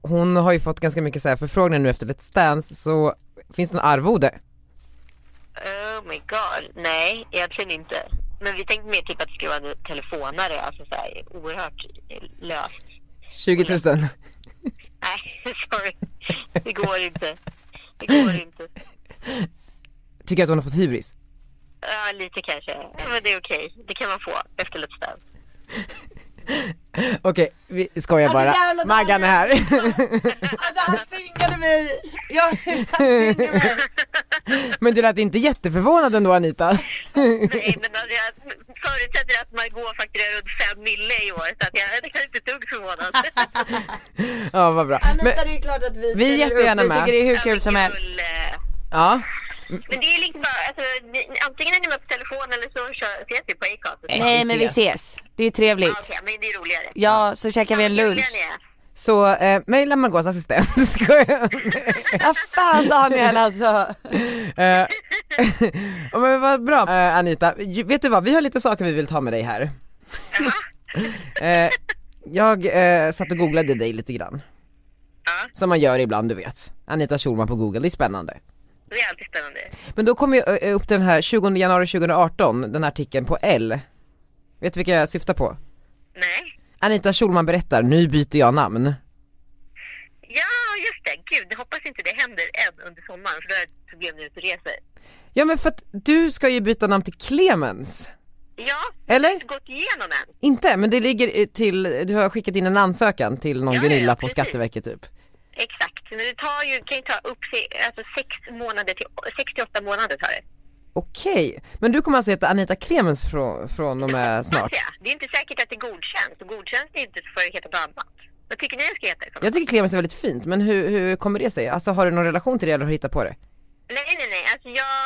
hon har ju fått ganska mycket så här förfrågningar nu efter Let's Dance så finns det en arvode? Oh my god. Nej, egentligen inte. Men vi tänkte mer typ att det skulle vara en telefonare, alltså så här oerhört löst. 20 000. Nej, sorry. Det går inte. Det går inte. Tycker att hon har fått hybris? Ja, lite kanske. Men det är okej. Det kan man få efter Let's Dance. Okej, vi skojar bara. jävla Daniel! Maggan är här. Alltså han tvingade mig! Jag, han tvingade mig. men du lät inte jätteförvånad ändå Anita. Nej, men alltså, jag förutsätter att Margot fakturerar runt 5 mille i år, så att jag är kanske inte ett dugg förvånad. ja vad bra. Men, det är klart att vi ställer upp. Vi tycker tycker det är hur Ja, men kul som helst. kul, eh. ja. Men det är liksom bara, alltså, ni- antingen är ni med på telefon eller så kör, ses vi på Acast. Nej men vi ses, det är trevligt. Ja, Okej, men det är roligare. Ja, så käkar vi en lunch. Roligare är. Så eh, mejla Margots assistent, skojar. Vad Ah, fan Daniel alltså. Eh, ja, men vad bra eh, Anita, Ju- vet du vad, vi har lite saker vi vill ta med dig här. eh, jag eh, satt och googlade dig lite grann. Ja. Som man gör ibland du vet. Anita Schulman på google, det är spännande. Det är alltid spännande. Men då kom ju eh, upp den här 20 januari 2018, den här artikeln på L. Vet du vilka jag syftar på? Nej. Anita Schulman berättar, nu byter jag namn. Ja, just det. Gud, jag hoppas inte det händer än under sommaren för då är det problem när du reser. Ja men för att du ska ju byta namn till Clemens. Ja, Eller? jag har inte gått igenom än. Inte, men det ligger eh, till, du har skickat in en ansökan till någon Ja, ja, Gunilla på precis. Skatteverket typ. Exakt. Men det tar ju, kan ju ta upp sig, alltså sex månader till, sex till åtta månader tar det. Okej, men du kommer alltså heta Anita Clemens från, från och med snart? Hoppas jag. Det är inte säkert att det godkänns. Och Godkänns det inte så får det heta något annat. Vad tycker ni jag ska heta? i så fall? Jag tycker Clemens är väldigt fint, men hur, hur kommer det sig? Alltså har du någon relation till det eller har du hittat på det? Nej, nej, nej. Alltså jag,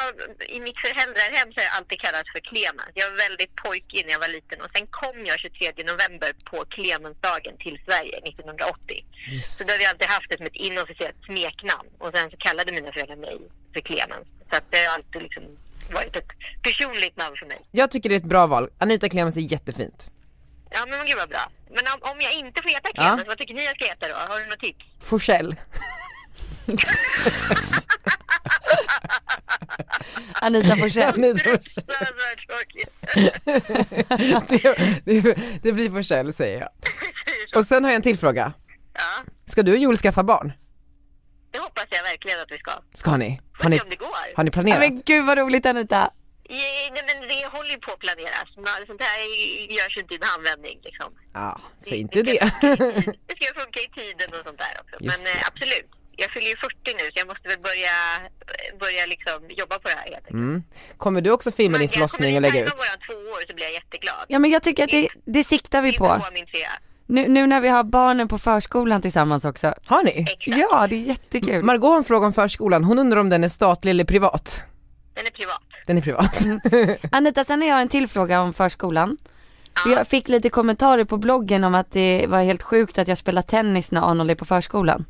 I mitt föräldrahem så har jag alltid kallats för Clemens. Jag var väldigt pojkig när jag var liten och sen kom jag 23 november på Clemensdagen till Sverige 1980. Så då har vi alltid haft det som ett inofficiellt smeknamn och sen så kallade mina föräldrar mig för Clemens. Så att det har alltid liksom varit ett personligt namn för mig. Jag tycker det är ett bra val, Anita Clemens är jättefint. Ja, men gud vad bra. Men om, om jag inte får heta Clemens, vad tycker ni jag ska heta då? Har du något tips? Forsell. Anita Forsell. Anita Forsell. Fruktansvärt tråkigt. det, det, det blir Forsell säger jag. Och sen har jag en till fråga. Ja, Ska du och Joel skaffa barn? det hoppas jag verkligen att vi ska. Ska ni? Har Får ni, se om det går. har ni planerat? Men gud vad roligt Anita. Ja, Nej, men det håller ju på att planeras. Man, sånt här görs ju inte i en handvändning. Liksom. Ja, säg inte ska det. funka i tid- det ska funka i tiden och sånt där också. Just men eh, absolut. Jag fyller ju 40 nu så jag måste väl börja, börja liksom jobba på det här helt enkelt. Kommer du också filma Mm, din Men jag förlossning och lägga ut? Kommer ni tajma våran två år så blir jag jätteglad. Ja men jag tycker att det, det siktar vi Inte på. på min trea. Nu, nu när vi har barnen på förskolan tillsammans också. Har ni? Exakt. Ja det är jättekul. Margot har en fråga om förskolan, hon undrar om den är statlig eller privat? Den är privat. Den är privat. Anita sen har jag en till fråga om förskolan. För jag fick lite kommentarer på bloggen om att det var helt sjukt att jag spelar tennis när Arnold är på förskolan.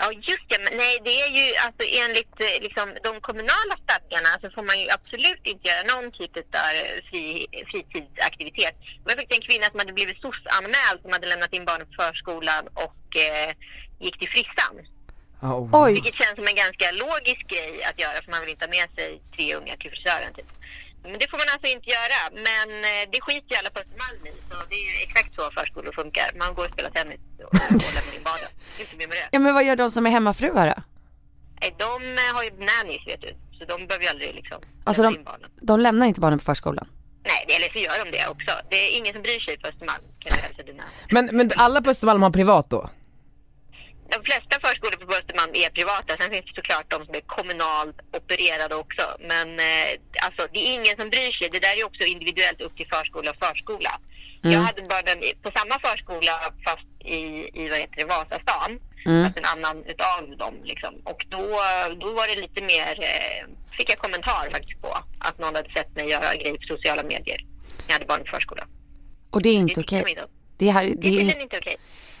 Ja, just det. Men nej, det är ju alltså enligt eh, liksom, de kommunala stadgarna så får man ju absolut inte göra någon typ av fri, fritidsaktivitet. Det var faktiskt en kvinna som hade blivit SOS-anmäld som hade lämnat in barnet på förskolan och eh, gick till frissan. Oh. Oj, Vilket känns som en ganska logisk grej att göra för man vill inte ha med sig tre unga till frisören typ. Men det får man alltså inte göra. Men eh, det skiter ju alla på Östermalm i. Så det är ju exakt så förskolor funkar. Man går och spelar tennis och, och lämnar in barnen. Inte mer med det. ja men vad gör de som är hemmafruar då? Nej, de eh, har ju nannies vet du. Så de behöver ju aldrig liksom Alltså lämna de, in barnen. de lämnar inte barnen på förskolan. Nej, det- eller så gör de det också. Det är ingen som bryr sig på Östermalm kan jag hälsa dina. Men, men alla på Östermalm har privat då? De flesta förskolor på Östermalm är privata. Sen finns det såklart de som är kommunalt opererade också. Men eh, alltså, det är ingen som bryr sig. Det där är ju också individuellt upp till förskola och förskola. Jag hade barnen i- på samma förskola fast i, i vad heter det, Vasastan. Fast en annan utav dem liksom. Och då, då var det lite mer, eh, fick jag kommentar faktiskt på att någon hade sett mig göra grejer på sociala medier. Jag hade barn i förskola. Och det är Det inte tycker okej. de inte om. Det här, Det det tycker är, de inte är okej.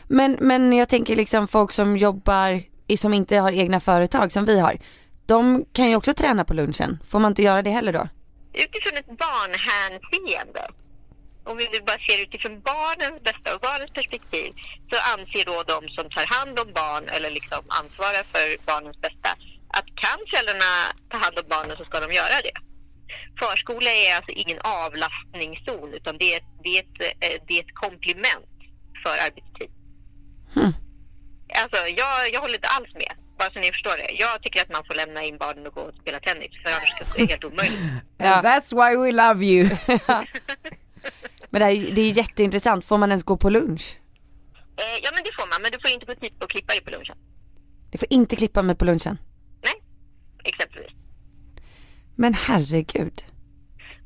men, men jag tänker liksom folk som jobbar, i- som inte har egna företag som vi har. De kan ju också träna på lunchen. Får man inte göra det heller då? utifrån ett barnhänseende, om vi nu bara ser utifrån barnens bästa och barnens perspektiv, så anser då de som tar hand om barn eller liksom ansvarar för barnens bästa att kan föräldrarna ta hand om barnen så ska de göra det. Förskola är alltså ingen avlastningszon utan det är, ett- det är, ett, eh, det är ett komplement för arbetstid. Alltså, jag, jag håller inte alls med. Bara så ni förstår det. Jag tycker att man får lämna in barnen och gå och spela tennis för annars är det helt omöjligt. And that's why we love you. Men det, här, är- det är jätteintressant. Får man ens gå på lunch? Eh, ja, men det får man. Men du får inte gå dit och klippa dig på lunchen. Det får inte klippa mig på lunchen. Nej, exempelvis. Men herregud.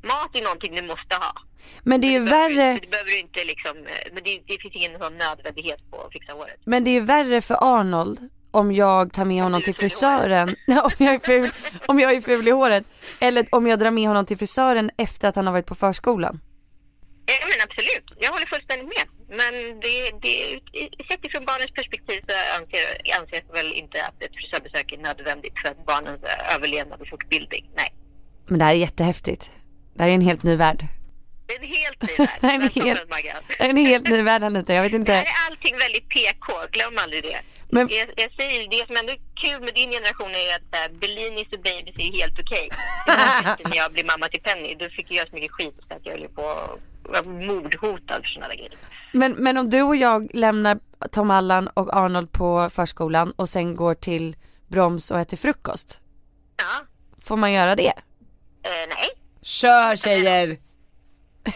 Mat är någonting du måste ha. Men det är ju Det behöver du värre, inte- Det behöver du inte liksom... eh, Men det, det finns ingen sån nödvändighet på att fixa håret. men det är ju värre för Arnold om jag tar med honom till frisören, Nej, om jag, är ful, om jag är ful i håret, eller om jag drar med honom till frisören efter att han har varit på förskolan. Ja, men absolut. Jag håller fullständigt med. Men det, det, sett ifrån barnens perspektiv så anser, anses väl inte att ett frisörbesök är nödvändigt för att barnens eh, överlevnad och fortbildning. Nej. Men det här är jättehäftigt. Det här är en helt ny värld. Det är en helt helt ny värld. Nej, det är Välkommen, helt- Maggan. En helt ny värld Anita, jag vet Där inte. är allting väldigt PK, glöm aldrig det. Men- Jag, jag säger ju, det som ändå är kul med din generation är ju att äh, Bellinis och Babys är helt okej. Det var inte när jag blev mamma till Penny, då fick jag så mycket skit så att jag höll på att vara mordhotad för sådana där grejer. Men, men om du och jag lämnar Tom Allan och Arnold på förskolan och sen går till Broms och äter frukost. Ja, Får man göra det? eh, nej. Kör tjejer!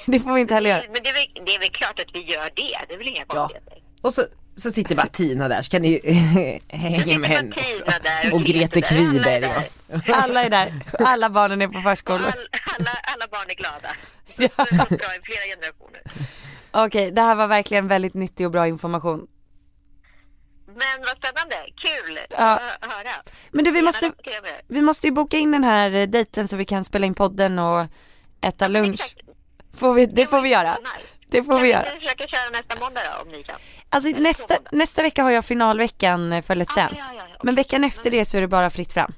Det får vi inte heller göra. Men det är, väl, det är väl klart att vi gör det, det är väl inga konstigheter. Och så, så sitter bara Tina där så kan ni hänga med henne alltså. också. Tina där Och Grete Peter där, alla är Kviberg. där. va? Alla är där, alla barnen är på förskolan. All, alla, alla barn är glada. Så Det har gått bra i flera generationer. Okej, det här var verkligen väldigt nyttig och bra information. Men vad spännande, kul Ja. att hö- höra. Men du vi Gärna måste, TV. vi måste ju boka in den här eh, dejten så vi kan spela in podden och äta lunch. Exakt. Får vi, det får vi göra. Det får Kan vi vi göra. inte försöka köra nästa måndag då om ni kan? Alltså nästa, måndag. nästa vecka har jag finalveckan eh, för Let's Ja, Dance. ja, ja, ja. Men veckan efter det så är det bara fritt fram.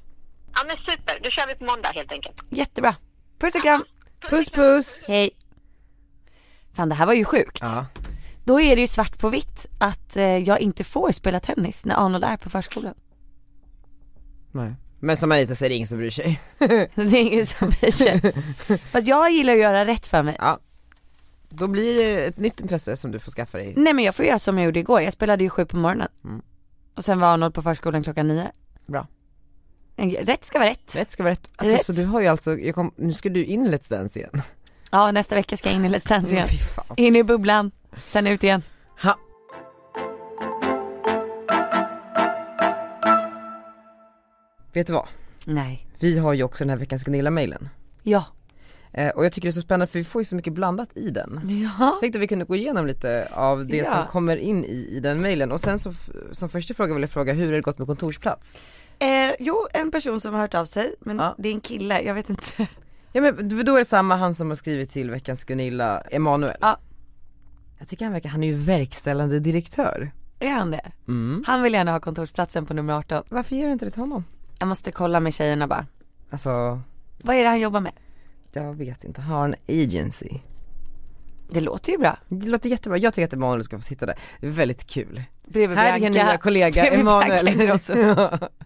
Ja men super, då kör vi på måndag helt enkelt. Jättebra. Puss och Ah. kram. Puss puss! Hej. Fan det här var ju sjukt. Ja. Då är det ju svart på vitt att eh, jag inte får spela tennis när Arnold är på förskolan. Nej. Men som Anita säger, det är ingen som bryr sig. Det är ingen som bryr sig. Fast jag gillar att göra rätt för mig. Ja. Då blir det ett nytt intresse som du får skaffa dig. Nej men jag får göra som jag gjorde igår, jag spelade ju sju på morgonen. Och sen var Arnold på förskolan klockan nio. Mm. Bra. En- Rätt ska vara rätt. Rätt ska vara rätt. Alltså, Rätt. Så du har ju alltså, jag kom, nu ska du in i Let's Dance igen. Ja nästa vecka ska jag in i Let's Dance igen. Fy fan. In i bubblan, sen ut igen. Ha. Vet du vad? Nej. Vi har ju också den här veckans Gunilla-mailen. Ja. Eh, och jag tycker det är så spännande för vi får ju så mycket blandat i den. Ja. tänkte vi kunde gå igenom lite av det Ja. som kommer in i, i den mailen och sen så, f- som första fråga vill jag fråga hur har det gått med kontorsplats? Eh, jo en person som har hört av sig, men Ja. det är en kille, jag vet inte. Ja men då är det samma han som har skrivit till veckans Gunilla, Emanuel. Ja. Jag tycker han verkar, han är ju verkställande direktör. Är han det? Mm. Han vill gärna ha kontorsplatsen på nummer 18. Varför ger du inte det till honom? Jag måste kolla med tjejerna bara. Alltså, Vad är det han jobbar med? jag vet inte, han har en agency. Det låter ju bra. Det låter jättebra, jag tycker att Emanuel ska få sitta där, det är väldigt kul. Bredvid Här är din Bianca. nya kollega Bredvid Emanuel. Bianca Ingrosso.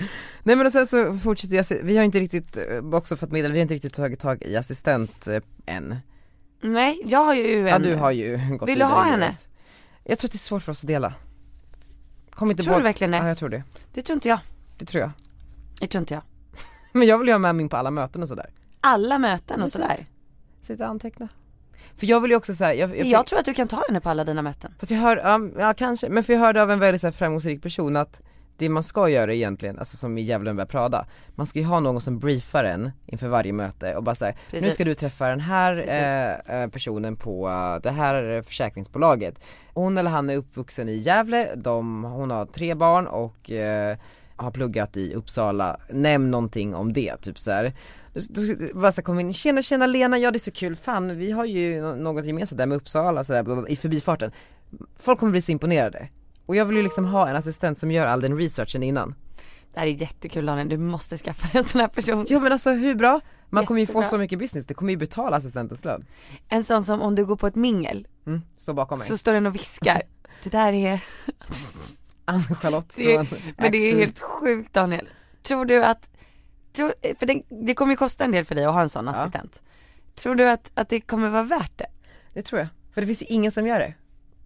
Ja. Nej men och sen så fortsätter jag, se- vi har inte riktigt, eh, också fått medel, vi har inte riktigt tagit tag i assistent eh, än. Nej, jag har ju en. Ja du har ju gått Vill du vidare ha i henne? livet. Jag tror att det är svårt för oss att dela. Kom inte Tror bort- du verkligen det? Ja jag tror det, Det tror inte jag. det tror jag. Det tror inte jag. Men jag vill ju ha med min på alla möten och sådär. Alla möten och sådär. Sitta och anteckna. För jag vill ju också såhär, jag, jag, Jag tror att du kan ta henne på alla dina möten. fast jag hör, ja, ja kanske, men för jag hörde av en väldigt så här, framgångsrik person att det man ska göra egentligen, alltså som i Djävulen bär Prada, man ska ju ha någon som briefar en inför varje möte och bara säger nu Precis. ska du träffa den här Precis. eh, eh, personen på eh, det här eh, försäkringsbolaget. Hon eller han är uppvuxen i Gävle, de, hon har tre barn och eh, har pluggat i Uppsala, nämn någonting om det, typ såhär. Bara så kom in, tjena tjena Lena, ja det är så kul, fan vi har ju nå- något gemensamt där med Uppsala så där, bla, bla, bla, i förbifarten. Folk kommer bli så imponerade. Och jag vill ju liksom ha en assistent som gör all den researchen innan. Det här är jättekul Daniel, du måste skaffa en sån här person. Jo men alltså hur bra? Man kommer ju få Jättebra. så mycket business, det kommer ju betala assistentens lön. En sån som om du går på ett mingel Mm, så bakom mig. så står den och viskar. Det där är, Ann-Charlotte det från är men det är Axfood. helt sjukt Daniel. Tror du att, tror, för det, det kommer ju kosta en del för dig att ha en sån assistent. Tror du att, att det kommer vara värt det? Det tror jag. För det finns ju ingen som gör det.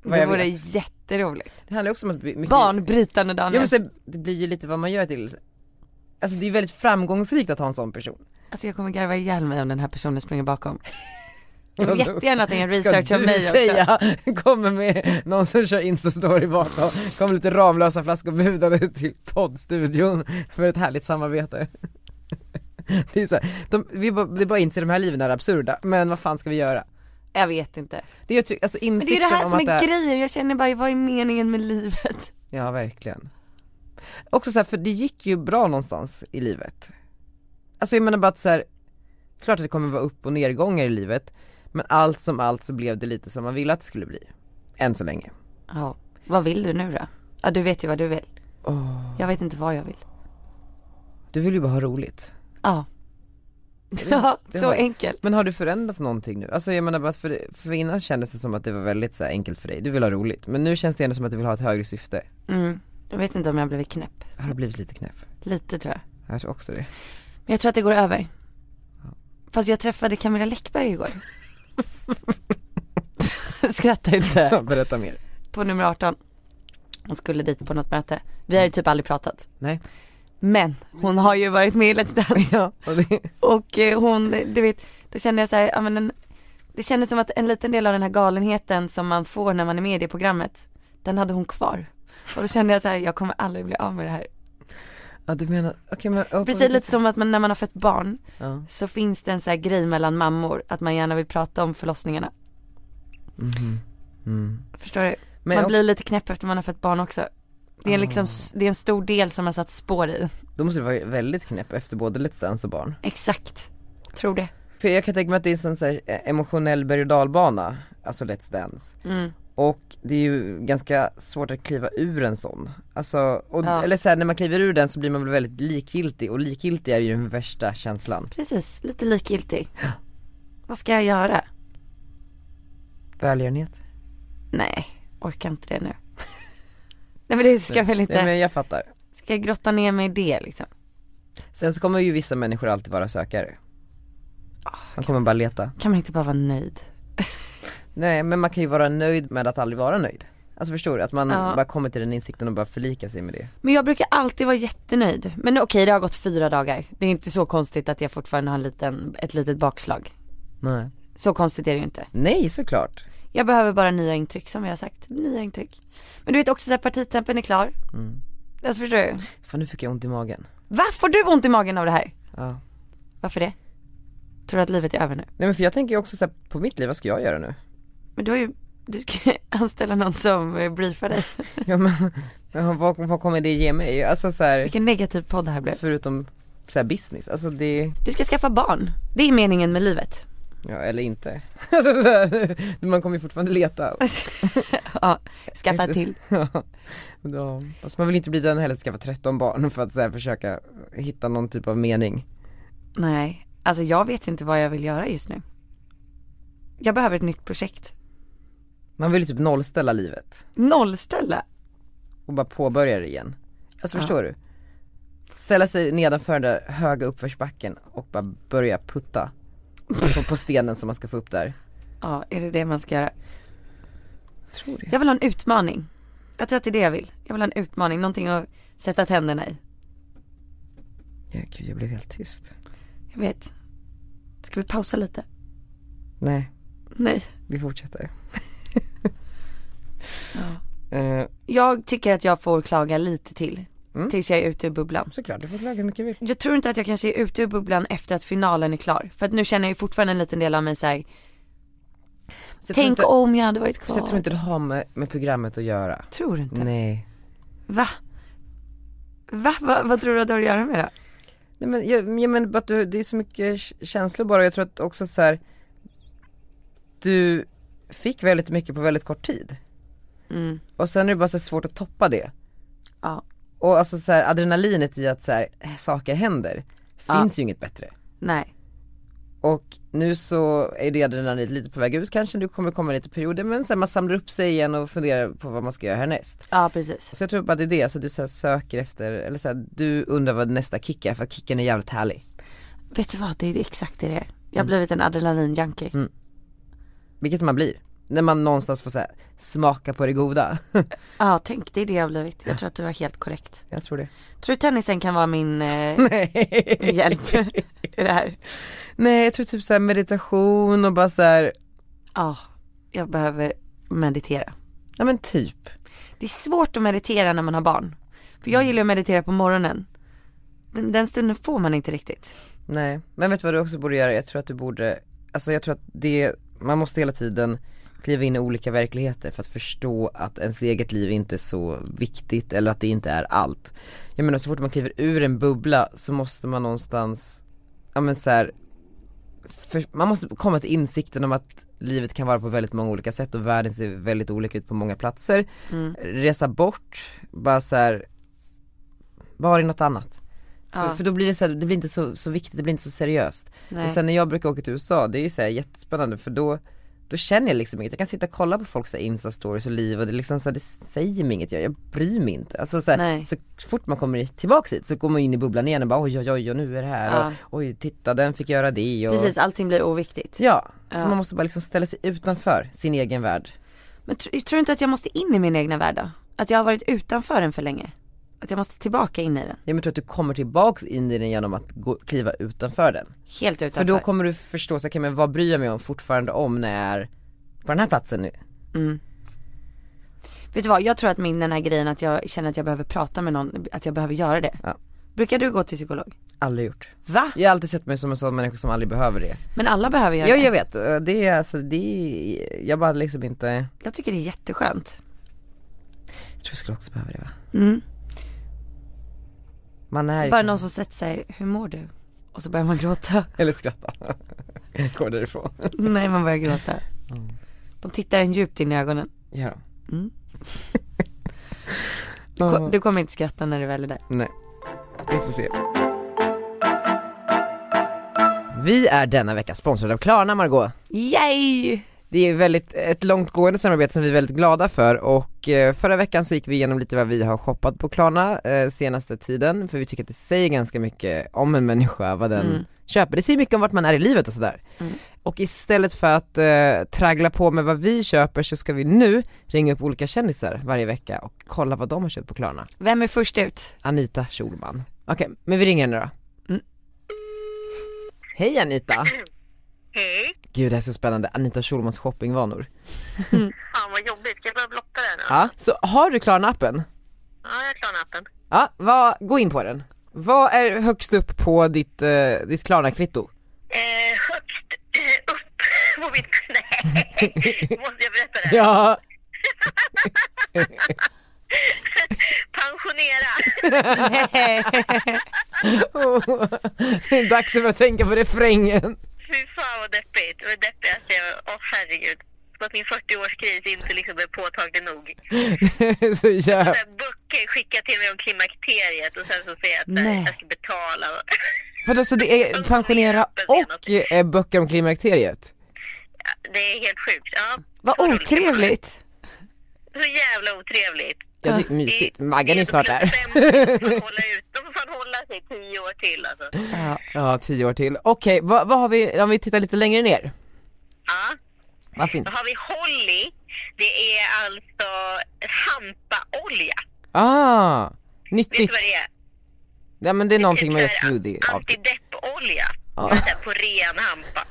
Vad Det jag vore vet. jätteroligt. Det handlar ju också om att bli mycket... Banbrytande Ja, Daniel. men så, det blir ju lite vad man gör till. Alltså det är väldigt framgångsrikt att ha en sån person. Alltså jag kommer garva ihjäl mig om den här personen springer bakom. Jag Vadå? vill jättegärna att den gör Ska research om du mig också. säga, kommer med någon som kör instastory bakom, kommer lite Ramlösa flaskor budade till poddstudion för ett härligt samarbete. Det är, så här, de, vi bara, det är bara att inse de här liven är absurda, men vad fan ska vi göra? Jag vet inte. Det är ju ty- alltså Men det är ju insikten det här om som att det är grejen, jag känner bara vad är meningen med livet? Ja verkligen. Också så här, för det gick ju bra någonstans i livet. Alltså jag menar bara att så här, klart att det kommer vara upp och nedgångar i livet, men allt som allt så blev det lite som man ville att det skulle bli. Än så länge. Ja, vad vill du nu då? Ja du vet ju vad du vill. Jag vet inte vad jag vill. Du vill ju bara ha roligt. Ja. Ja, det så har jag. enkelt. Men har du förändrats någonting nu? Alltså jag menar bara för, för innan kändes det som att det var väldigt så här, enkelt för dig, du vill ha roligt. Men nu känns det ändå som att du vill ha ett högre syfte. Mm. Jag vet inte om jag har blivit knäpp. Har du blivit lite knäpp? Lite tror jag. Jag tror också det. Men jag tror att det går över. Fast jag träffade Camilla Läckberg igår. Skratta inte. Ja, berätta mer. På nummer 18. Hon skulle dit på något möte. Vi har ju typ aldrig pratat. Mm. Nej. Men hon har ju varit med i Let's Dance. Ja, och det, Och eh, hon, du vet, då kände jag så här, ja men en, det kändes som att en liten del av den här galenheten som man får när man är med i det programmet, den hade hon kvar. Och då kände jag så här, jag kommer aldrig bli av med det här. ja du menar, okej men. ja, på Precis vilket- lite som att man, när man har fött barn Ja. så finns det en så här grej mellan mammor att man gärna vill prata om förlossningarna. Mhm. Mm. Förstår du? Men man också- blir lite knäpp efter man har fött barn också. Det är, liksom, s- det är en stor del som har satt spår i. Då måste du vara väldigt knäpp efter både Let's Dance och barn. Exakt. Tror det. För jag kan tänka mig att det är en sån så här eh, emotionell berg och dalbana, alltså Let's Dance. Mm. Och det är ju ganska svårt att kliva ur en sån. Alltså, och, Ja. eller så här, när man kliver ur den så blir man väl väldigt likgiltig och likgiltig är ju den värsta känslan. Precis, lite likgiltig. Vad ska jag göra? Välgörenhet. Nej, orkar inte det nu. Nej men det ska jag väl Nej inte, men jag fattar. ska jag grotta ner mig i det liksom? Sen så kommer ju vissa människor alltid vara sökare. Ah, Man kommer bara leta. Kan man inte bara vara nöjd? Nej men man kan ju vara nöjd med att aldrig vara nöjd. Alltså förstår du? Att man Ja. bara kommer till den insikten och bara förlika sig med det. Men jag brukar alltid vara jättenöjd. Men okej det har gått fyra dagar. Det är inte så konstigt att jag fortfarande har en liten, ett litet bakslag. Nej. Så konstigt är det ju inte. Nej såklart. Jag behöver bara nya intryck som jag har sagt. Nya intryck. Men du vet också så här partitempen är klar. Mm. Alltså förstår du? Fan nu fick jag ont i magen. Va? Får du ont i magen av det här? Ja. Varför det? Tror du att livet är över nu? Nej men för jag tänker ju också så här, på mitt liv, vad ska jag göra nu? Men du har ju, du ska ju anställa någon som eh, briefar dig. Ja men, ja, vad, vad kommer det ge mig? Alltså så här, Vilken negativ podd det här blev. förutom så här business, alltså det, Du ska skaffa barn. Det är meningen med livet. ja eller inte. Alltså, så här, man kommer ju fortfarande leta. Ja, skaffa till. Ja. Ja. Fast man vill inte bli den heller som skaffar 13 barn för att så här, försöka hitta någon typ av mening. Nej, alltså jag vet inte vad jag vill göra just nu. Jag behöver ett nytt projekt. Man vill ju typ nollställa livet Nollställa. och bara påbörja det igen. Alltså förstår du? Ställa sig nedanför den där höga uppförsbacken och bara börja putta på, på stenen som man ska få upp där. Ja, är det det man ska göra? Tror det. Jag vill ha en utmaning. Jag tror att det är det jag vill. Jag vill ha en utmaning, någonting att sätta tänderna i. Ja, gud, jag blev helt tyst. Jag vet. Ska vi pausa lite? Nej. Nej. Vi fortsätter. Eh, Jag tycker att jag får klaga lite till. Mm. Tills jag är ute ur bubblan. såklart, du får klaga hur mycket du vill. Jag tror inte att jag kanske är ute ur bubblan efter att finalen är klar. För att nu känner jag ju fortfarande en liten del av mig så här. Så jag tror tänk inte, om jag hade varit så kvar. jag tror inte det har med, med programmet att göra. Tror du inte? Nej. Va? Va? Va? Vad tror du att det har att göra med det? Nej men jag, jag menar bara att du, det är så mycket k- känslor bara jag tror att också så här. Du fick väldigt mycket på väldigt kort tid. Mm. Och sen är det bara så svårt att toppa det. Ja. Och alltså så här, adrenalinet i att så här, eh, saker händer, Ja. finns ju inget bättre. Nej. Och nu så är det adrenalinet lite på väg ut kanske, du kommer komma lite perioder men sen man samlar upp sig igen och funderar på vad man ska göra härnäst. Ja precis. Så jag tror bara det är det, alltså du så här söker efter, eller så här, du undrar vad nästa kick är för att kicken är jävligt härlig. Vet du vad? Det är exakt det det är. Jag Mm. har blivit en adrenalin-junkie. Vilket man blir. När man någonstans får så här, smaka på det goda. Ja tänk det är det jag har blivit. Jag tror att du var helt korrekt. jag tror det. Tror du tennisen kan vara min eh, Nej. hjälp i det här? Nej jag tror typ så här meditation och bara så här, Ja, jag behöver meditera. ja men typ. Det är svårt att meditera när man har barn. För Mm. jag gillar att meditera på morgonen. Den, den stunden får man inte riktigt. Nej, men vet du vad du också borde göra? Jag tror att du borde, alltså jag tror att det, man måste hela tiden kliva in i olika verkligheter för att förstå att ens eget liv inte är så viktigt eller att det inte är allt. Jag menar så fort man kliver ur en bubbla så måste man någonstans, ja men så här, för, man måste komma till insikten om att livet kan vara på väldigt många olika sätt och världen ser väldigt olika ut på många platser. Resa bort, bara så här, var i något annat. Ja. För, för då blir det så här, det blir inte så, så viktigt, det blir inte så seriöst. Nej. Och sen när jag brukar åka till USA, det är ju så här jättespännande för då, då känner jag liksom inget, jag kan sitta och kolla på folks så här instastories och liv och det är liksom så här, det säger mig inget, jag, jag bryr mig inte. Alltså så, här, Nej. så fort man kommer i- tillbaks hit så går man in i bubblan igen och bara oj oj oj och nu är det här Ja. och oj titta den fick göra det och Precis, allting blir oviktigt. Ja, så Ja. man måste bara liksom ställa sig utanför sin egen värld. Men tr- tror du inte att jag måste in i min egna värld då? Att jag har varit utanför den för länge? Att jag måste tillbaka in i den? Jag tror att du kommer tillbaks in i den genom att gå, kliva utanför den. Helt utanför? För då kommer du förstå, så, okay, men vad bryr jag mig om fortfarande om när jag är på den här platsen nu? Vet du vad, jag tror att min den här grejen att jag känner att jag behöver prata med någon, att jag behöver göra det. Ja. Brukar du gå till psykolog? Aldrig gjort. Va? Jag har alltid sett mig som en sån människa som aldrig behöver det. Men alla behöver göra Ja det. jag vet, Eh, det är alltså, det är, jag bara liksom inte, jag Jag tycker det är jätteskönt. tror jag skulle också behöva det va? Man är ju, Bara någon som sätter sig, hur mår du? Och så börjar man gråta. eller skratta. Går därifrån. Nej man börjar gråta. Mm. De tittar en djupt in i ögonen. Ja. då. Du, ko- Mm. Ja. du kommer inte skratta när du väl är där. Nej, vi får se. Vi är denna vecka sponsrade av Klarna Margot. Yay! Det är väldigt, ett långtgående samarbete som vi är väldigt glada för och eh, förra veckan så gick vi igenom lite vad vi har shoppat på Klarna eh, senaste tiden för vi tycker att det säger ganska mycket om en människa vad den köper. Det säger mycket om vart man är i livet och sådär. Och istället för att eh, traggla på med vad vi köper så ska vi nu ringa upp olika kändisar varje vecka och kolla vad de har köpt på Klarna. Vem är först ut? Anita Schulman. Okej, men vi ringer henne då. Hej Anita! Hej. Gud det här är så spännande, Anita Schulmans shoppingvanor. Fan vad jobbigt. Ska jag börja blotta det nu? Ja, så har du Klarna-appen? Ja, jag klarar appen. Ja, vad, gå in på den. Vad är högst upp på ditt, eh, ditt Klarna-kvitto? Eh, högst eh, upp på mitt... Nej, måste jag berätta det? här? Ja! Pensionera. Dags att börja tänka på refrängen. Fy fan vad deppigt. Det var det deppigaste jag... Åh herregud. Som att min 40-årskris inte liksom är påtaglig nog. så jävla... Så här, Böcker skickar till mig om klimakteriet och sen så säger jag att nej, Nej. jag ska betala. Vadå så det är pensionera och eh, böcker om klimakteriet? Det är helt sjukt. Ja. Vad otrevligt. Så jävla otrevligt. Jag tycker mysigt, Maggan är ju snart där. De får fan hålla sig tio år till alltså. Ja, tio år till. Okej, vad, vad har vi, om vi tittar lite längre ner? Ja. Vad fint. Då har vi Holly. Det är alltså hampaolja. Ah, Vet du nyttigt. vad det är? Ja men det är någonting med Typ så här smoothie av typ. Antideppolja. Ja. Det är så här På ren hampa.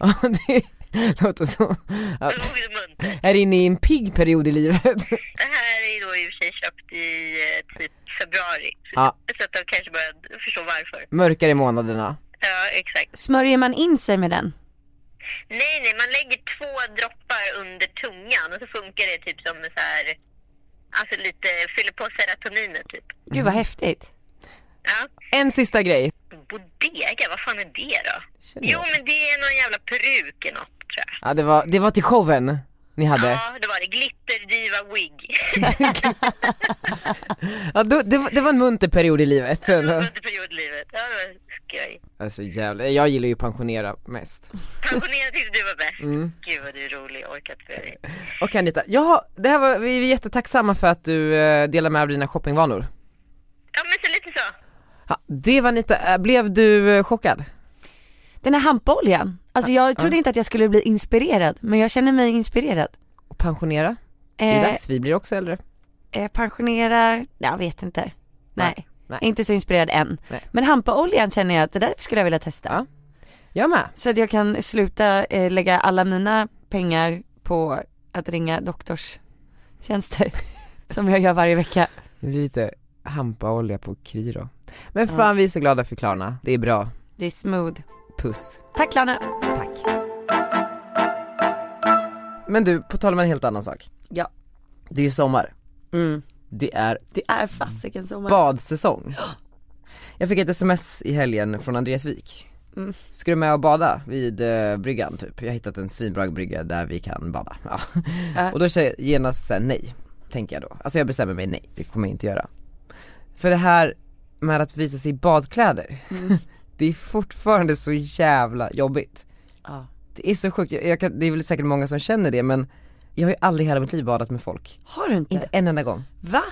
Ja, det låter som Det att låter muntert. är inne i en pigg period i livet. Det här är då i och för sig köpt i eh, typ februari. Ja, Så att de kanske börjar förstå varför. mörkare i månaderna. Ja, exakt. Smörjer man in sig med den? Nej, nej, man lägger två droppar under tungan och så funkar det typ som så här, alltså lite, fyller på serotoninet typ. Gud Mm. vad häftigt. Ja. En sista grej. Bodega, vad fan är det då? Känner Jo, jag. men det är någon jävla peruk i något tror jag. Ja det var, det var till showen ni hade. Ja, det var det. Glitterdiva wig. Ja, då, det, var- det var en munter period i livet. Under periodlivet. Ja, det var skoj. Alltså jävlar, jag gillar ju pensionera mest. Pensionerad tyckte du var bäst. Mm. Gud vad du är rolig, jag orkat för dig. Okej Anita, ja, det här var, vi är jättetacksamma för att du eh, delar med dig av dina shoppingvanor. Ja, men så lite så. Ja, det var Anita, Eh, blev du eh, chockad? Den här hampaoljan. Alltså jag trodde inte att jag skulle bli inspirerad men jag känner mig inspirerad. Och pensionera? Det är Eh, dags, vi blir också äldre. eh, pensionerar, jag vet inte. Nej. Nej, nej. Inte så inspirerad än. Nej. Men hampaoljan känner jag att det där skulle jag vilja testa. Ja. Jag med. Så att jag kan sluta eh, lägga alla mina pengar på att ringa doktorstjänster. som jag gör varje vecka. Det blir lite hampaolja på Kry då. Men fan vi är så glada för Klarna, det är bra. Det är smooth. Puss. Tack Lana. Tack. Men du, på tal om en helt annan sak. Ja. Det är ju sommar. Mm. Det är Det är fasiken sommar. badsäsong. Jag fick ett sms i helgen från Andreas Wik. Mm. Ska du med och bada vid eh, bryggan typ? Jag har hittat en svinbra brygga där vi kan bada. Ja. Äh. Och då säger jag genast såhär nej, tänker jag då. Alltså jag bestämmer mig nej, det kommer jag inte göra. För det här med att visa sig i badkläder. Mm. det är fortfarande så jävla jobbigt. Ja. Det är så sjukt, jag, jag kan, det är väl säkert många som känner det men jag har ju aldrig i hela mitt liv badat med folk. Har du inte? Inte en enda gång. Va?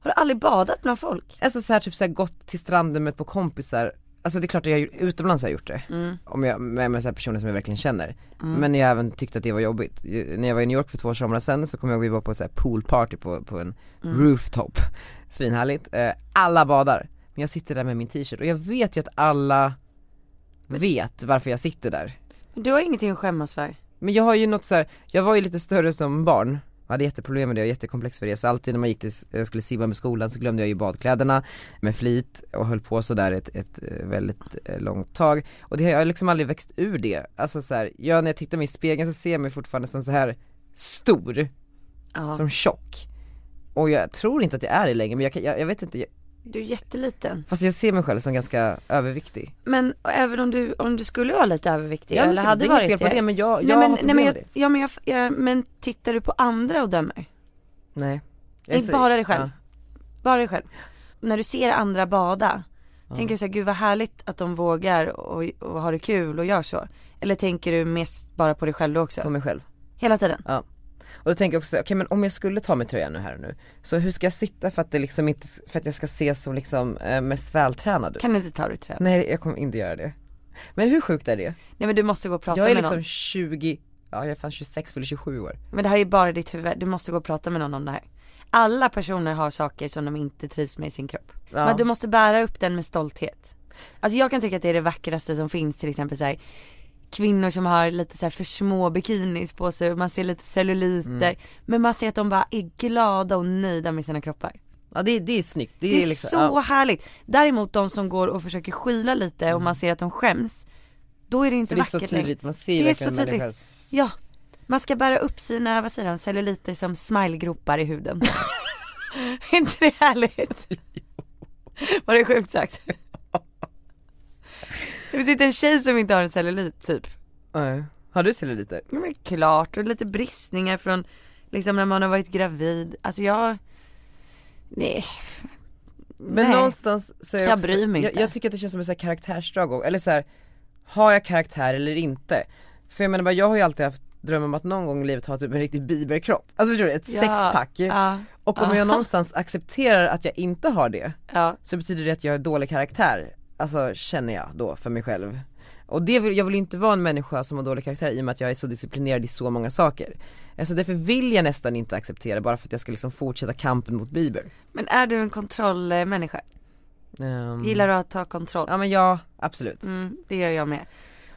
Har du aldrig badat bland folk? Alltså så här, typ så här, gått till stranden med ett par kompisar, alltså det är klart att jag har gjort- utomlands har jag gjort det. Om jag, med, med så här personer som jag verkligen känner. Men jag har även tyckt att det var jobbigt. Jag, när jag var i New York för två somrar sedan så kommer jag ihåg vi var på ett så här poolparty på, på en rooftop. Svinhärligt. Eh, alla badar. Men jag sitter där med min t-shirt och jag vet ju att alla vet varför jag sitter där. Men Du har ingenting att skämmas för. Men jag har ju något så här, jag var ju lite större som barn jag hade jätteproblem med det och jättekomplex för det, så alltid när man gick till, jag skulle simma med skolan så glömde jag ju badkläderna med flit och höll på sådär ett, ett eh, väldigt eh, långt tag Och det har jag liksom aldrig växt ur det, alltså så här, jag när jag tittar mig i spegeln så ser jag mig fortfarande som så här stor, Ja. som tjock Och jag tror inte att jag är det längre men jag, kan- jag, jag vet inte, jag, Du är jätteliten. fast jag ser mig själv som ganska överviktig Men och även om du, om du skulle vara lite överviktig men eller så- hade det är inget varit fel på det, men jag, jag nej, har men, problem nej, men, med jag, det ja, men, jag, jag, men tittar du på andra och dömer? Nej Jag är Inte så- bara dig själv. ja. Alltså, Bara dig själv. När du ser andra bada, tänker du såhär, gud vad härligt att de vågar och, och har det kul och gör så? Eller tänker du mest bara på dig själv då också? på mig själv Hela tiden? Ja. Och då tänker jag också, så här, okej men om jag skulle ta med tröjan nu här och nu, så hur ska jag sitta för att det liksom inte, för att jag ska ses som liksom eh, mest vältränad ut? Kan du inte ta av dig tröjan? Nej jag kommer inte göra det. Men hur sjukt är det? Nej men du måste gå och prata Jag är med liksom någon. 20, ja jag är fan 26 eller 27 år. Men det här är bara ditt huvud, du måste gå och prata med någon om det här. Alla personer har saker som de inte trivs med i sin kropp. Ja. Men du måste bära upp den med stolthet. Alltså jag kan tycka att det är det vackraste som finns till exempel så här kvinnor som har lite så här för små bikinis på sig, man ser lite celluliter. Mm. Men man ser att de bara är glada och nöjda med sina kroppar. Ja det, det är snyggt, det, Det är, är liksom, så ja. härligt. Däremot de som går och försöker skyla lite och man ser att de skäms, då är det inte Mm. det är vackert så längre. tydligt, man ser ju Det är så verkligen tydligt. människans Ja, man ska bära upp sina, vad säger de, celluliter som smilegropar i huden. är inte det härligt? Var det sjukt sagt? Det finns inte en tjej som inte har en cellulit typ. Nej. Har du celluliter? Ja, Men klart, och lite bristningar från liksom när man har varit gravid. Alltså jag, nej. Men nej. någonstans så är det Jag också- bryr mig jag, inte. jag tycker att det känns som ett så här karaktärsdrag och- eller så här, har jag karaktär eller inte? För jag menar bara, jag har ju alltid haft dröm om att någon gång i livet ha typ en riktig biberkropp, alltså förstår du? Ett Ja, sexpack ja, Och om ja. jag någonstans accepterar att jag inte har det Ja. så betyder det att jag har dålig karaktär, alltså känner jag då för mig själv. Och det vill, jag vill ju inte vara en människa som har dålig karaktär i och med att jag är så disciplinerad i så många saker. Alltså därför vill jag nästan inte acceptera bara för att jag ska liksom fortsätta kampen mot Bieber. Men är du en kontrollmänniska? Ehm, Gillar du att ta kontroll? Ja men ja, absolut. Mm, det gör jag med.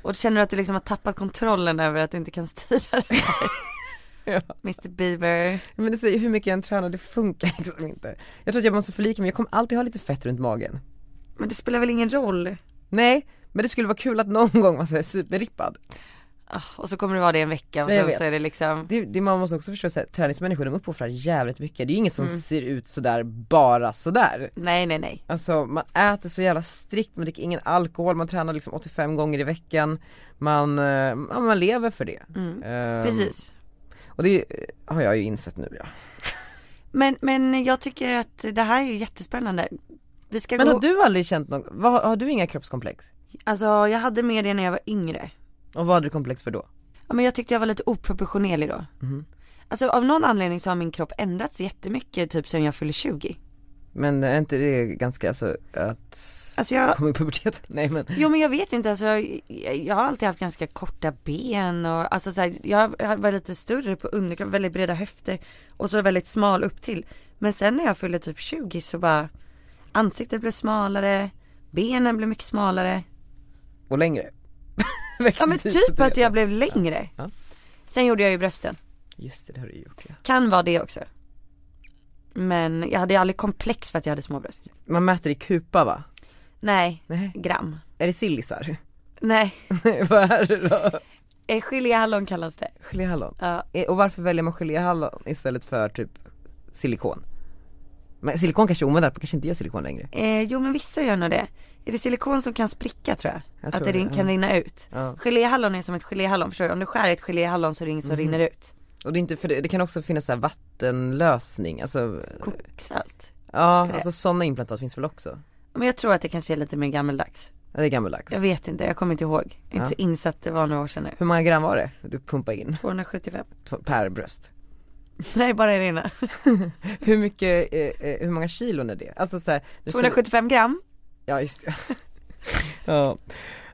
Och känner du att du liksom har tappat kontrollen över att du inte kan styra det här? Ja. Mr Bieber. Men det säger hur mycket jag än tränar, det funkar liksom inte. Jag tror att jag måste förlika mig, jag kommer alltid ha lite fett runt magen. Men det spelar väl ingen roll? Nej, men det skulle vara kul att någon gång vara såhär superrippad. Ah, Och så kommer det vara det en vecka och Nej, jag sen vet. så är det liksom, Det, det man måste också förstå såhär, träningsmänniskor de uppoffrar jävligt mycket, det är ju ingen som ser ut sådär bara sådär. nej nej nej. Alltså man äter så jävla strikt, man dricker ingen alkohol, man tränar liksom 85 gånger i veckan, man, eh, ja, man lever för det. Ehm, Precis. Och det eh, har jag ju insett nu ja. Men, men jag tycker att det här är ju jättespännande. Vi ska Men gå, har du aldrig känt någon, vad, har du inga kroppskomplex? alltså jag hade med det när jag var yngre. Och vad hade du komplex för då? Ja, men jag tyckte jag var lite oproportionerlig då. Mhm. Alltså av någon anledning så har min kropp ändrats jättemycket typ sen jag fyllde 20. Men är inte det ganska alltså att Alltså jag, komma i puberteten? Nej men, Jo men jag vet inte, alltså, jag, jag har alltid haft ganska korta ben och alltså, så här, jag har varit lite större på underkroppen, väldigt breda höfter och så väldigt smal upp till. Men sen när jag fyllde typ 20 så bara ansiktet blev smalare, benen blev mycket smalare. och längre. Ja men Växte till, så typ du att vet. jag blev längre. Ja. Sen gjorde jag ju brösten, Just det, det har du gjort ja. kan vara det också. Men jag hade ju aldrig komplex för att jag hade små bröst. Man mäter i kupa va? Nej, Nej. gram. Är det sillisar? Nej, Vad är det då? Eh, geléhallon kallas det. Geléhallon? Ja. Eh, Och varför väljer man geléhallon istället för typ silikon? Men silikon kanske är omodernt, man kanske inte gör silikon längre. Eh, jo men vissa gör nog det. Är det silikon som kan spricka tror jag? Jag att tror det, det, rin- ja. kan rinna ut. Ja. Geléhallon är som ett geléhallon, förstår du? Om du skär i ett geléhallon så är det Mhm. inget som rinner ut. Och det, är inte, för det, det kan också finnas så här vattenlösning, alltså Koksalt. ja, det? alltså sådana implantat finns väl också? Men jag tror att det kanske är lite mer gammeldags. Ja, Det är gammaldags. Jag vet inte, jag kommer inte ihåg. Ja. Jag är inte så insatt, det var några år sedan nu. Hur många gram var det du pumpade in 275. t- per bröst? Nej, bara det ena. Hur mycket, eh, eh, hur många kilon är det? Alltså såhär, 275 gram. ja just det. ja.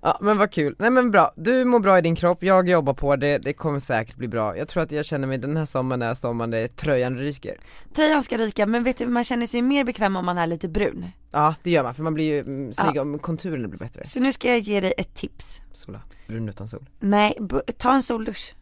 ja men vad kul, nej men bra, du mår bra i din kropp, jag jobbar på det, det kommer säkert bli bra. Jag tror att jag känner mig den här sommaren är sommaren där tröjan ryker. Tröjan ska ryka, men vet du, man känner sig mer bekväm om man är lite brun. Ja det gör man för man blir ju mm, snygg Ja. om konturerna blir bättre. Så nu ska jag ge dig ett tips. Sola, brun utan sol. Nej, bu- ta en soldusch.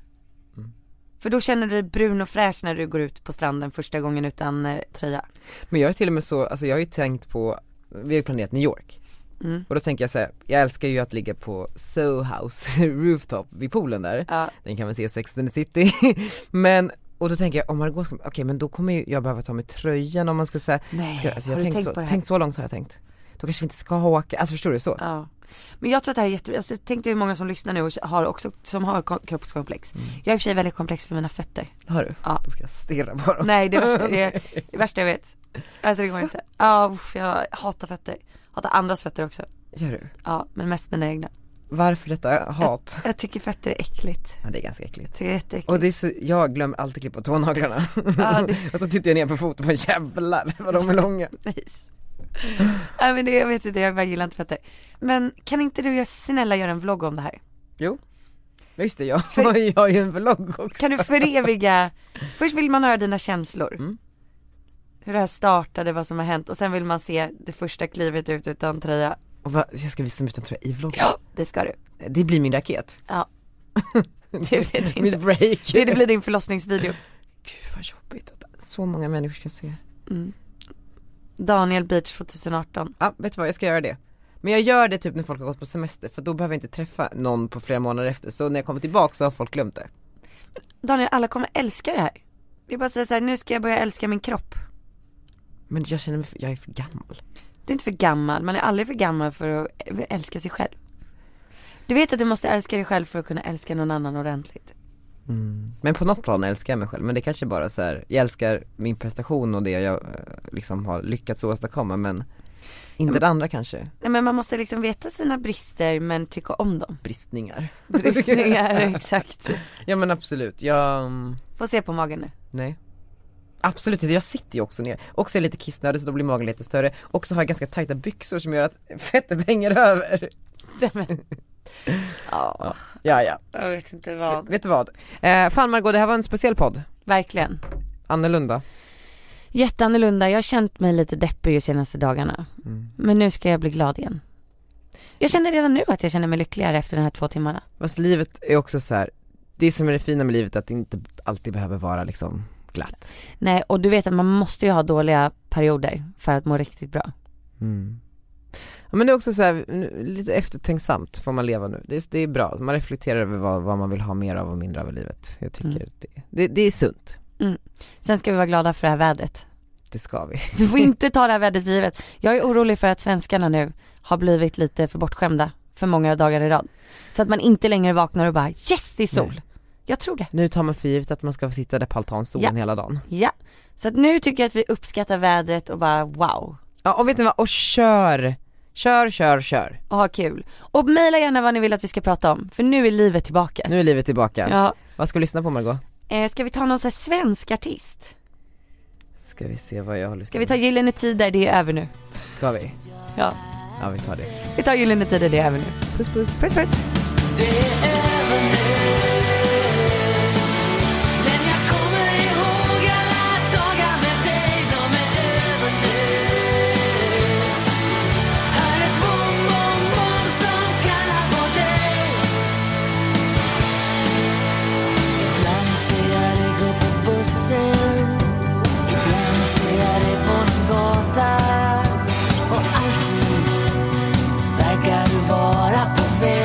Mm. För då känner du dig brun och fräsch när du går ut på stranden första gången utan eh, tröja. Men jag är till och med så, alltså jag har ju tänkt på, vi har ju planerat New York Mm. och då tänker jag så här, jag älskar ju att ligga på Soho House rooftop vid poolen där, Ja. den kan man se i Sex and the City, men och då tänker jag om Margot kommer, okej men då kommer ju jag behöva ta med tröjan om man ska säga Nej, ska, alltså, jag har du tänkt tänkt så, på det här? Tänkt så långt har jag tänkt. Då kanske vi inte ska åka, alltså förstår du så? Ja. Men jag tror att det här är jätte, alltså, tänk dig hur många som lyssnar nu och har också, som har ko- kroppskomplex. Jag är i och för sig väldigt komplex för mina fötter. Har du? Ja. Då ska jag stirra på dem. Nej det är värsta, det är det värsta jag vet. Alltså det går inte. Ja, uff, jag hatar fötter. Hatar andras fötter också. Gör du? Ja, men mest mina egna. Varför detta hat? Jag tycker fötter är äckligt. Ja, det är ganska äckligt. Jag tycker det är jätteäckligt. Och det är så, jag glömmer alltid klippa tånaglarna. Ja, det- och så tittar jag ner på foten och jävlar vad de är långa. Nice. Nej men det, jag vet inte, jag bara gillar inte fötter. Men kan inte du göra- snälla göra en vlogg om det här? Ja, Just det, jag jag har ju en vlogg också. Kan du föreviga, först vill man höra dina känslor. Mm. Hur det här startade, vad som har hänt och sen vill man se det första klivet ut utan tröja. Och vad, jag ska visa mig utan tröja i vloggen. Ja, det ska du. Det blir min raket. Ja. Det blir din- Mitt break. Det, det blir din förlossningsvideo. Gud vad jobbigt att så många människor ska se. Mm. Daniel Beach 2018. Ja, vet du vad, jag ska göra det. Men jag gör det typ när folk har gått på semester för då behöver jag inte träffa någon på flera månader efter. Så när jag kommer tillbaka så har folk glömt det. Daniel, alla kommer älska det här. Det är bara att säga så här, nu ska jag börja älska min kropp. Men jag känner mig, för, jag är för gammal. Du är inte för gammal, man är aldrig för gammal för att ä- älska sig själv. Du vet att du måste älska dig själv för att kunna älska någon annan ordentligt. Men på något plan älskar jag mig själv, men det kanske bara så här, jag älskar min prestation och det jag eh, liksom har lyckats åstadkomma men inte det andra kanske, Nej men man måste liksom veta sina brister men tycka om dem. bristningar. Bristningar, exakt. ja men absolut, jag, mm, Få se på magen nu. nej. Absolut inte, jag sitter ju också ner, också är jag lite kissnödig så då blir magen lite större, och så har jag ganska tajta byxor som gör att fettet hänger över. Ja, Ja ja, jag vet inte vad. vet du vad? Eh, fan Margot, det här var en speciell podd, Verkligen. annorlunda. Jätteannorlunda, jag har känt mig lite deppig de senaste dagarna. Mm. Men nu ska jag bli glad igen. Jag känner redan nu att jag känner mig lyckligare efter de här två timmarna. Fast livet är också så här. det som är det fina med livet är att det inte alltid behöver vara liksom glatt. Nej, och du vet att man måste ju ha dåliga perioder för att må riktigt bra. Mm. Ja, men det är också så här, nu- lite eftertänksamt får man leva nu. Det är, det är bra, man reflekterar över vad, vad man vill ha mer av och mindre av i livet. Jag tycker Mm. det, det, det är sunt, Sen ska vi vara glada för det här vädret. det ska vi. Vi får inte ta det här vädret för givet. Jag är orolig för att svenskarna nu har blivit lite för bortskämda för många dagar i rad. Så att man inte längre vaknar och bara yes det är sol. Nej. Jag tror det. Nu tar man för givet att man ska få sitta där på altanstolen Ja. hela dagen. Ja. Så att nu tycker jag att vi uppskattar vädret och bara wow. Ja och vet ni vad, och kör! Kör, kör, kör. Och ha kul. Och mejla gärna vad ni vill att vi ska prata om. För nu är livet tillbaka. Nu är livet tillbaka. Ja. Vad ska vi lyssna på Margot? Eh, ska vi ta någon sån här svensk artist? Ska vi se vad jag har lyssnat Ska vi ta Gyllene Tider, det är över nu. på? Ska vi? Ja. Ja vi tar det. Vi tar Gyllene Tider, det är över nu. Puss puss. Puss puss. Men jag kommer ihåg alla dagar med dig, de är över nu Hör ett bom, bom, bom som kallar på dig Ibland ser jag dig gå på bussen Ibland ser jag dig på någon gata Och alltid verkar du vara på väg